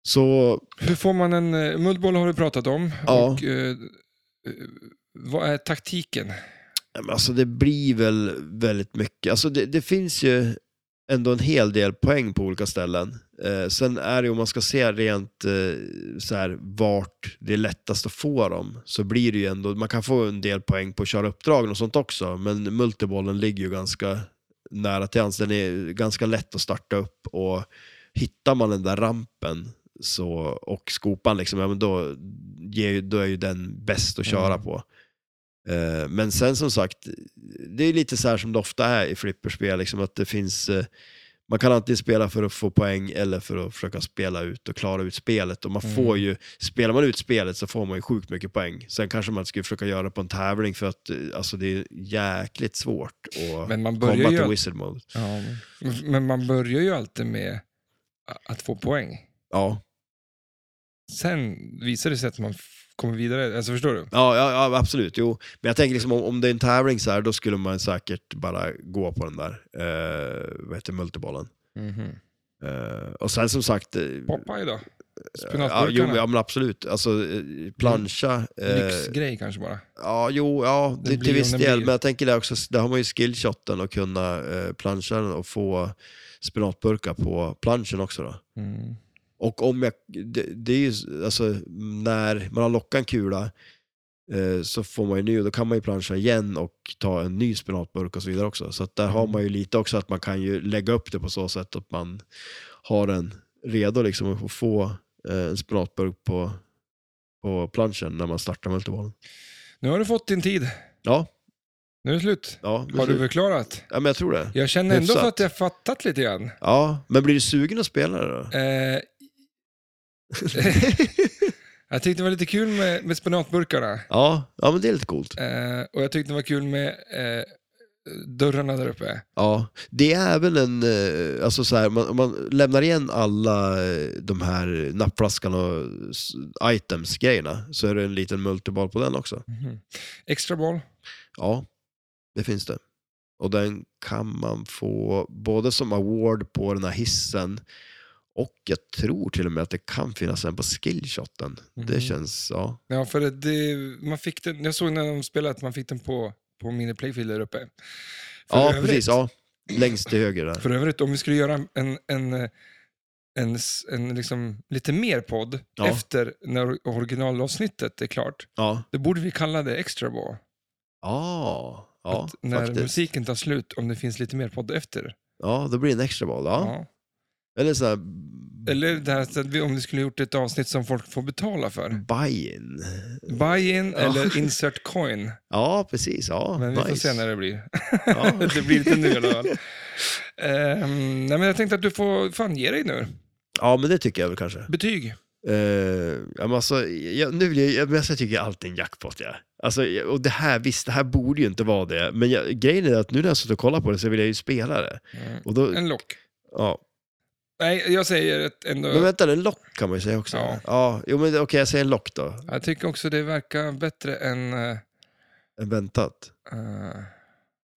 S1: Så
S2: Hur får man en... eh, Multiboll har vi pratat om.
S1: Ja.
S2: Och, eh, eh, vad är taktiken?
S1: Ja, men Alltså det blir väl väldigt mycket. Alltså det, det finns ju ändå en hel del poäng på olika ställen. Eh, sen är det ju om man ska se rent eh, så här, vart det är lättast att få dem så blir det ju ändå, man kan få en del poäng på att köra uppdragen och sånt också men multibollen ligger ju ganska nära till hands. Den är ganska lätt att starta upp och hittar man den där rampen så, och skopan liksom, ja, men då, ger, ju- då är ju den bäst att köra
S2: Mm.
S1: på. Eh, Men sen som sagt, det är lite så här som det ofta är i flipperspel, liksom att det finns, eh, man kan antingen spela för att få poäng eller för att försöka spela ut och klara ut spelet. Och man
S2: Mm.
S1: får ju, spelar man ut spelet så får man ju sjukt mycket poäng. Sen kanske man skulle försöka göra det på en tävling för att eh, alltså, det är jäkligt svårt att
S2: Men man
S1: komma
S2: börjar
S1: till
S2: ju...
S1: wizard mode.
S2: Ja, men- men man börjar ju alltid med a- att få poäng.
S1: Ja.
S2: Sen visar det sig att man f- kommer vidare. Alltså förstår du?
S1: Ja, ja, ja, absolut. Jo. Men jag tänker liksom om, om det är en tävling så här, då skulle man säkert bara gå på den där, eh, vad heter multibollen. Eh, och sen som sagt, eh,
S2: Popeye då?
S1: Ja, jo,
S2: Spenatburkarna?
S1: men- ja men absolut. Alltså, eh, plancha. Eh,
S2: Lyxgrej kanske bara.
S1: ja, jo, ja,
S2: Den
S1: det,
S2: blir
S1: till viss
S2: om den
S1: del.
S2: blir.
S1: Men jag tänker där också, där har man ju skillshoten och kunna eh, plancha den och få spenatburkar på planschen också då.
S2: Mm.
S1: Och om jag, det, det är ju, s- alltså när man har lockat en kula eh, så får man ju ny, då kan man ju plancha igen och ta en ny spenatburk och så vidare också. Så att där
S2: Mm.
S1: har man ju lite också att man kan ju lägga upp det på så sätt att man har den redo liksom att få eh, en spenatburk på, på planschen när man startar multivalen.
S2: Nu har du fått din tid.
S1: Ja,
S2: Nu är det slut.
S1: ja, men
S2: Har du
S1: så-
S2: förklarat?
S1: ja, men jag tror det.
S2: Jag känner ändå
S1: Hyfsat.
S2: för att jag fattat lite grann.
S1: Ja, men blir du sugen att spela det då?
S2: Eh, [LAUGHS] jag tyckte det var lite kul med, med spenatburkarna.
S1: Ja, ja, men det är lite coolt.
S2: Eh, och jag tyckte det var kul med eh, dörrarna där uppe.
S1: Ja, det är även en, eh, alltså så här, man, om man lämnar igen alla eh, de här nappflaskan och s- items-grejerna så är det en liten multiball på den också.
S2: Extra boll.
S1: Ja, det finns det. Och den kan man få både som award på den här hissen och jag tror till och med att det kan finnas en på skillshoten.
S2: Mhm.
S1: Det känns, ja.
S2: Ja, för det, det, man fick den, jag såg när de spelade att man fick den på, på mini playfield där uppe. För
S1: ja,
S2: övrigt-
S1: precis. Ja. Längst till höger där.
S2: För övrigt, om vi skulle göra en, en, en, en, s- en liksom, lite mer podd
S1: Ja.
S2: efter när originalavsnittet är klart,
S1: Ja,
S2: då borde vi kalla det extra ball.
S1: ja, ja
S2: att när
S1: faktiskt.
S2: musiken tar slut, om det finns lite mer podd efter.
S1: Ja, då blir det en extra ball. Ja.
S2: Ja.
S1: Eller sån här
S2: Eller det här, så att vi, om vi skulle gjort ett avsnitt som folk får betala för.
S1: buy-in. Mm.
S2: Buy-in
S1: Ja.
S2: eller insert coin.
S1: Ja, precis. [LAUGHS] Ja,
S2: Men vi
S1: nice.
S2: får se när det blir.
S1: Ja.
S2: [LAUGHS] det
S1: [LAUGHS]
S2: blir inte nu i alla fall. Ehm, nej, men jag tänkte att du får fan ge dig nu.
S1: ja, men det tycker jag väl kanske.
S2: Betyg.
S1: Eh, ja, men alltså, jag, nu vill jag, men alltså, jag tycker alltid en jackpot. Ja. Alltså, jag- och det här, visst, det här borde ju inte vara det, men jag, grejen är att nu när jag sitter och kollar på det så vill jag ju spela det. Och då,
S2: En lock.
S1: ja.
S2: Nej, jag säger ett ändå.
S1: Men vänta, en lock kan man ju säga också.
S2: Ja.
S1: Ja. jo, men okej, jag säger en lock då.
S2: Jag tycker också det verkar bättre än... eh,
S1: En väntat.
S2: eh,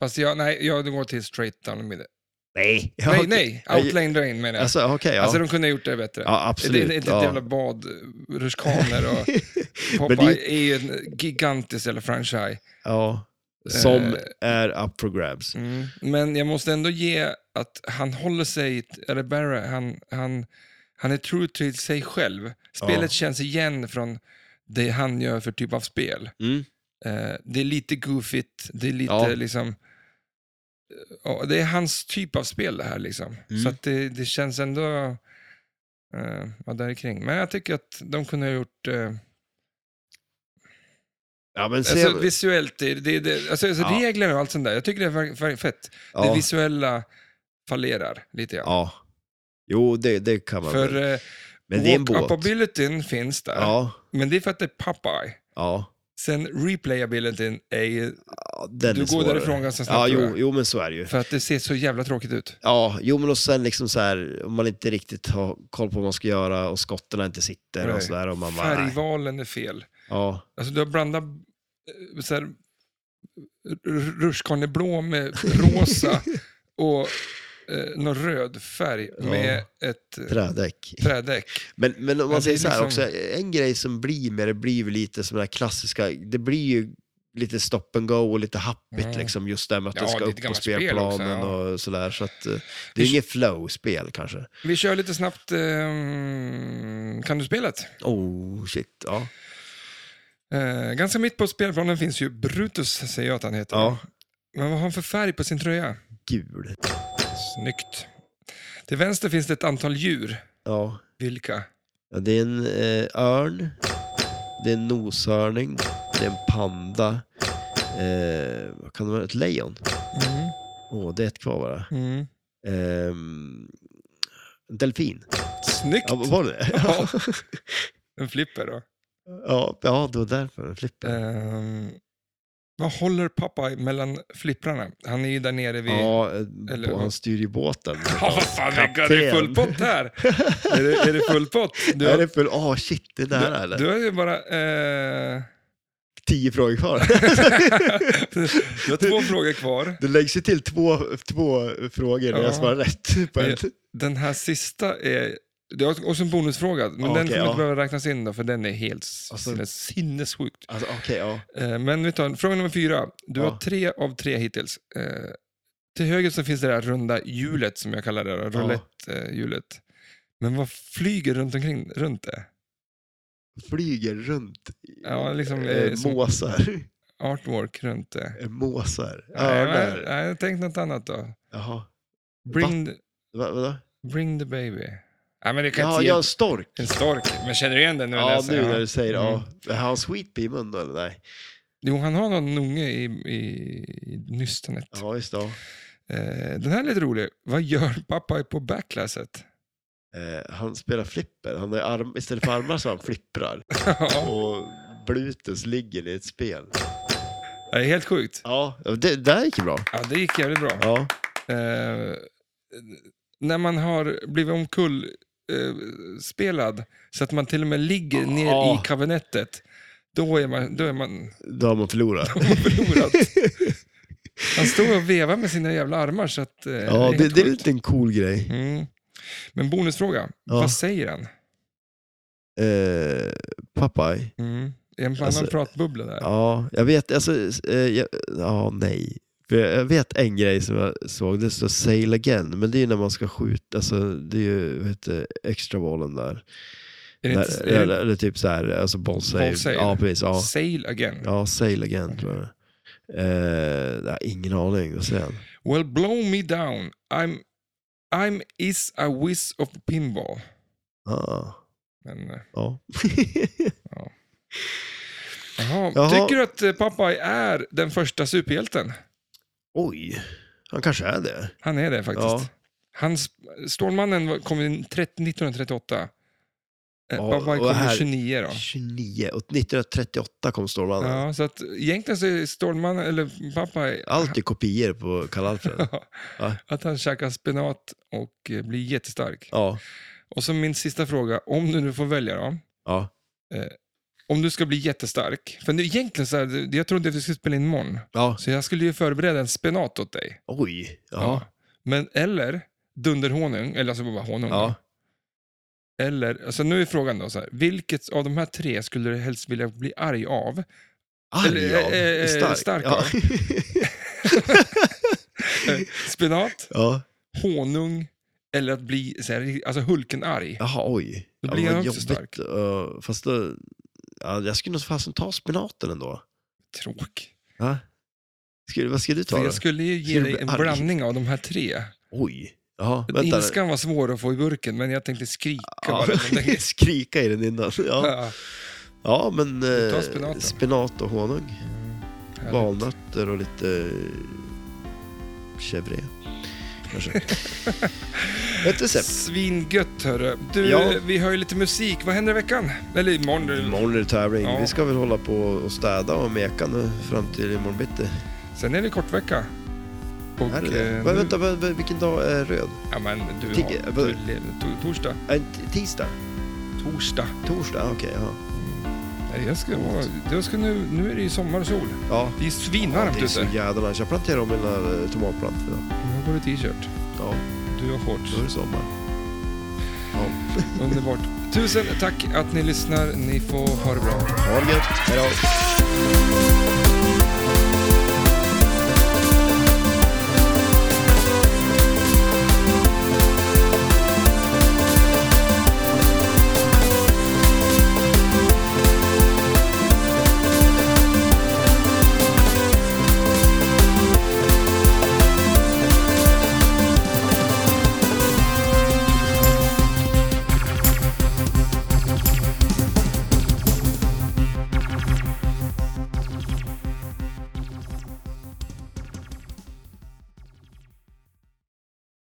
S2: fast jag, nej, jag går till straight down the middle.
S1: Nej. [LAUGHS] Ja,
S2: Nej,
S1: okej.
S2: nej, outlane drain menar jag. Alltså,
S1: Alltså, okej, ja.
S2: de kunde ha gjort det bättre.
S1: ja, absolut.
S2: Det är inte
S1: ja.
S2: ett jävla bad, rutschkanor och
S1: [LAUGHS] Men
S2: Popeye
S1: det-
S2: är ju en gigantisk jävla franchise.
S1: ja. Som
S2: Eh.
S1: är up for grabs.
S2: Mm. Men jag måste ändå ge att han håller sig, eller Barry, han, han, han är true till sig själv. Spelet
S1: Ja.
S2: känns igen från det han gör för typ av spel.
S1: Mm.
S2: Eh, det är lite goofigt, det är lite
S1: Ja.
S2: liksom... ja, det är hans typ av spel det här liksom.
S1: Mm.
S2: Så att det, det känns ändå... Uh, ja, där kring. Men jag tycker att de kunde ha gjort... eh,
S1: Ja, men se,
S2: alltså, visuellt, det, det, det, alltså, alltså,
S1: Ja.
S2: reglerna och allt sånt där. Jag tycker det är ver- ver- fett. Det
S1: ja,
S2: visuella fallerar lite grann.
S1: ja. Jo, det, det kan man väl.
S2: För eh,
S1: Men det är en båt.
S2: walk-upabilityn finns där,
S1: Ja,
S2: men det är för att det är Popeye.
S1: ja.
S2: Sen replayabilityn är ju
S1: Ja, den
S2: Du
S1: är
S2: går
S1: svårare.
S2: därifrån ganska snabbt,
S1: Ja,
S2: tror
S1: jo,
S2: jag.
S1: jo, men så är det ju.
S2: för att det ser så jävla tråkigt ut.
S1: Ja, jo, men och sen liksom så här, om man inte riktigt har koll på vad man ska göra och skotten inte sitter
S2: Nej.
S1: och så där. Och man bara, nej.
S2: Färgvalen är fel.
S1: Ja,
S2: Alltså du har blandat eh, så här, r- rutschkaneblå med
S1: [LAUGHS]
S2: rosa och eh, någon röd färg
S1: Ja.
S2: med ett eh,
S1: trädäck.
S2: trädäck.
S1: Men, men om man
S2: Men det
S1: säger
S2: är
S1: så här
S2: liksom-
S1: också, en grej som blir med det blir ju lite som den här klassiska, det blir ju lite stop and go och lite happigt
S2: Mm.
S1: liksom just det här med att
S2: Ja,
S1: du ska
S2: det är ett
S1: upp på
S2: gammalt spel
S1: spelplanen
S2: också, ja.
S1: och sådär. Så att, eh, det
S2: Vi-
S1: är inget flow-spel kanske.
S2: Vi kör lite snabbt, eh, kan du spelet?
S1: Oh shit, ja.
S2: Eh, ganska mitt på spelplanen finns ju Brutus, säger jag att han heter.
S1: Ja,
S2: Men vad har han för färg på sin tröja?
S1: gul.
S2: Snyggt. Till vänster finns det ett antal djur.
S1: Ja.
S2: Vilka?
S1: Ja, det är en eh, örn, det är en noshörning, det är en panda, eh, vad kan det vara, ett lejon?
S2: Mm.
S1: Åh, det är ett kvar bara.
S2: Mm.
S1: Ehm, en delfin.
S2: Snyggt!
S1: Ja, vad var det [LAUGHS]
S2: Ja. En flipper då.
S1: ja, ja, det var därför. En flipper.
S2: Ehm, vad håller pappa mellan flipprarna? Han är ju där nere vid...
S1: ja, eh,
S2: eller-
S1: och han styr ju båten.
S2: Ja, vad fan, Rickard, det är full
S1: [LAUGHS]
S2: pott här! är, det, är det full pott? Du,
S1: Är det full? Åh, shit, det är nära
S2: du,
S1: eller?
S2: du har ju bara... Eh, [LAUGHS]
S1: Tio frågor kvar.
S2: du har två frågor kvar.
S1: Det läggs ju till två, två frågor när
S2: Ja.
S1: jag svarar rätt. På en.
S2: Den här sista är... Det är också en bonusfråga, men
S1: Ja,
S2: den
S1: Ah, okej,
S2: får
S1: ja.
S2: inte behöva räknas in då, för den är helt
S1: Alltså-
S2: sinnes, sinnessjukt.
S1: Alltså, okej, ja.
S2: Eh, Men vi tar fråga nummer fyra. Du
S1: Ja.
S2: har tre av tre hittills. Eh, Till höger så finns det där runda hjulet som jag kallar det, då,
S1: Ja.
S2: roulettehjulet. Men vad flyger runt omkring runt det?
S1: Flyger runt. i-
S2: Ja, liksom eh,
S1: Eh,
S2: som
S1: måsar.
S2: artwork runt det.
S1: Eh, Måsar.
S2: Nej, nej,
S1: Örnar.
S2: nej, jag tänkte något annat då.
S1: Jaha.
S2: Bring, the-
S1: Va, vadå?
S2: bring the baby. Ja, men det kan
S1: Ja,
S2: inte
S1: jag är
S2: ge
S1: en stork.
S2: en stork. Men känner du igen den nu
S1: Ja,
S2: läser
S1: nu
S2: den?
S1: när du säger det.
S2: Mm.
S1: Ja. Har han sweet pea i munnen eller? Nej.
S2: Jo, han har någon unge i, i, i nystanet.
S1: Ja, just det. ja.
S2: Eh, den här är lite rolig. Vad gör Popeye på backlasset? [LAUGHS]
S1: Eh, han spelar flipper. Han har arm, istället för armar så har han flipprar.
S2: Ja,
S1: Och Blutus ligger i ett spel.
S2: det är helt sjukt.
S1: Ja, det där gick ju bra.
S2: Ja, det gick jävligt bra.
S1: Ja,
S2: Eh, när man har blivit omkull eh, spelad så att man till och med ligger ner
S1: Ja.
S2: i kabinettet, då är man, då är man [LAUGHS]
S1: då har man förlorat.
S2: förlorad. Han står och vevar med sina jävla armar så att... eh,
S1: Ja,
S2: helt
S1: det, det är
S2: sjukt.
S1: lite en cool grej.
S2: Mm. Men bonusfråga,
S1: Ja.
S2: vad säger han?
S1: Eh, Popeye.
S2: Mm. Är en annan
S1: Alltså-
S2: pratbubbla där?
S1: Ja, jag vet, alltså, eh, jag, ja, nej. För jag jag vet en grej som jag såg, det står sail again, men det är ju när man ska skjuta, alltså det är ju, vad heter det, extra ballen där.
S2: är det
S1: där
S2: inte, är
S1: eller,
S2: det
S1: eller typ så här, alltså ball save.
S2: Ball save.
S1: Ja, precis. Ja,
S2: Sail again.
S1: ja sail again tror jag. Eh, jag har ingen aning, vad säger han?
S2: Well, blow me down. I'm, I'm is a whiz of pinball.
S1: Ah,
S2: Men, eh,
S1: ja. [LAUGHS]
S2: jaha.
S1: Jaha.
S2: Tycker du att eh, Popeye är den första superhjälten?
S1: Oj, han kanske är det.
S2: Han är det faktiskt.
S1: Ja.
S2: Hans, Stålmannen var- kom in 30, 1938. Eh,
S1: Ja,
S2: Popeye
S1: och
S2: kom
S1: här-
S2: här... 29 då.
S1: 29, och 1938 kom Stålmannen.
S2: Ja, så att egentligen så är Stålmannen, eller Popeye,
S1: Allt är kopior på
S2: [LAUGHS]
S1: Karl-Alfred. Va?
S2: att han käkar spenat och eh, blir jättestark.
S1: ja,
S2: Och så min sista fråga, om du nu får välja då.
S1: ja.
S2: Om du ska bli jättestark. För nu, egentligen så här, jag trodde att vi skulle spela in imorgon.
S1: Ja,
S2: Så jag skulle ju förbereda en spenat åt dig.
S1: oj.
S2: Ja.
S1: Ja,
S2: Men eller dunderhonung, eller alltså bara honung.
S1: ja.
S2: Eller, alltså nu är frågan då så här, vilket av de här tre skulle du helst vilja bli arg av?
S1: Arg
S2: Eller,
S1: av?
S2: eh, eh,
S1: stark.
S2: stark
S1: ja.
S2: av. Spenat,
S1: [LAUGHS] ja.
S2: honung eller att bli så här, alltså Hulken-arg?
S1: Jaha, oj.
S2: Då
S1: Ja,
S2: blir
S1: vad
S2: han också
S1: jobbigt.
S2: stark.
S1: Eh, fast då, ja, jag skulle nog fasen ta spenaten ändå.
S2: Tråk.
S1: Ja. Skulle, vad ska du ta
S2: För
S1: då?
S2: jag skulle ju
S1: Ska
S2: ge
S1: du
S2: dig
S1: bli
S2: en
S1: arg?
S2: blandning av de här tre.
S1: Oj. Jaha, vänta.
S2: Ilskan var svår att få i burken, men jag tänkte skrika
S1: Ja, [LAUGHS]
S2: bara. [LAUGHS] Ja.
S1: skrika i den innan. Ja, ja men
S2: tar
S1: eh,
S2: spenaten.
S1: spenat och honung. Valnötter och lite eh, chèvre. Kanske.
S2: [LAUGHS]
S1: Ett recept.
S2: Svingött hörru. Du,
S1: Ja.
S2: vi hör ju lite musik. Vad händer i veckan? Eller imorgon. eller-
S1: Imorgon är det tävling.
S2: Ja.
S1: Vi ska väl hålla på och städa och meka nu fram till imorgon bitti.
S2: Sen är det kortvecka. Och,
S1: Är det det?
S2: eh,
S1: Men
S2: nu-
S1: vänta, vad- vad- vilken dag är röd?
S2: Ja, men du
S1: Tigger-
S2: har,
S1: vad-
S2: du, lever- to, torsdag.
S1: Äh, t- tisdag?
S2: Torsdag.
S1: Torsdag? Ah, Okej, ja.
S2: Nej, jag ska, vara- jag ska nu, nu är det ju sommar och sol.
S1: ja.
S2: Det är
S1: Ja,
S2: svinvarmt
S1: det är så
S2: ute.
S1: jädra nice. Jag planterade om mina eh, tomatplantor idag.
S2: Jag har både t-shirt.
S1: Ja,
S2: Du har shorts.
S1: då är det sommar. Ja.
S2: Underbart. Tusen tack att ni lyssnar. Ni får ha det bra.
S1: Ha det gött. Hej då.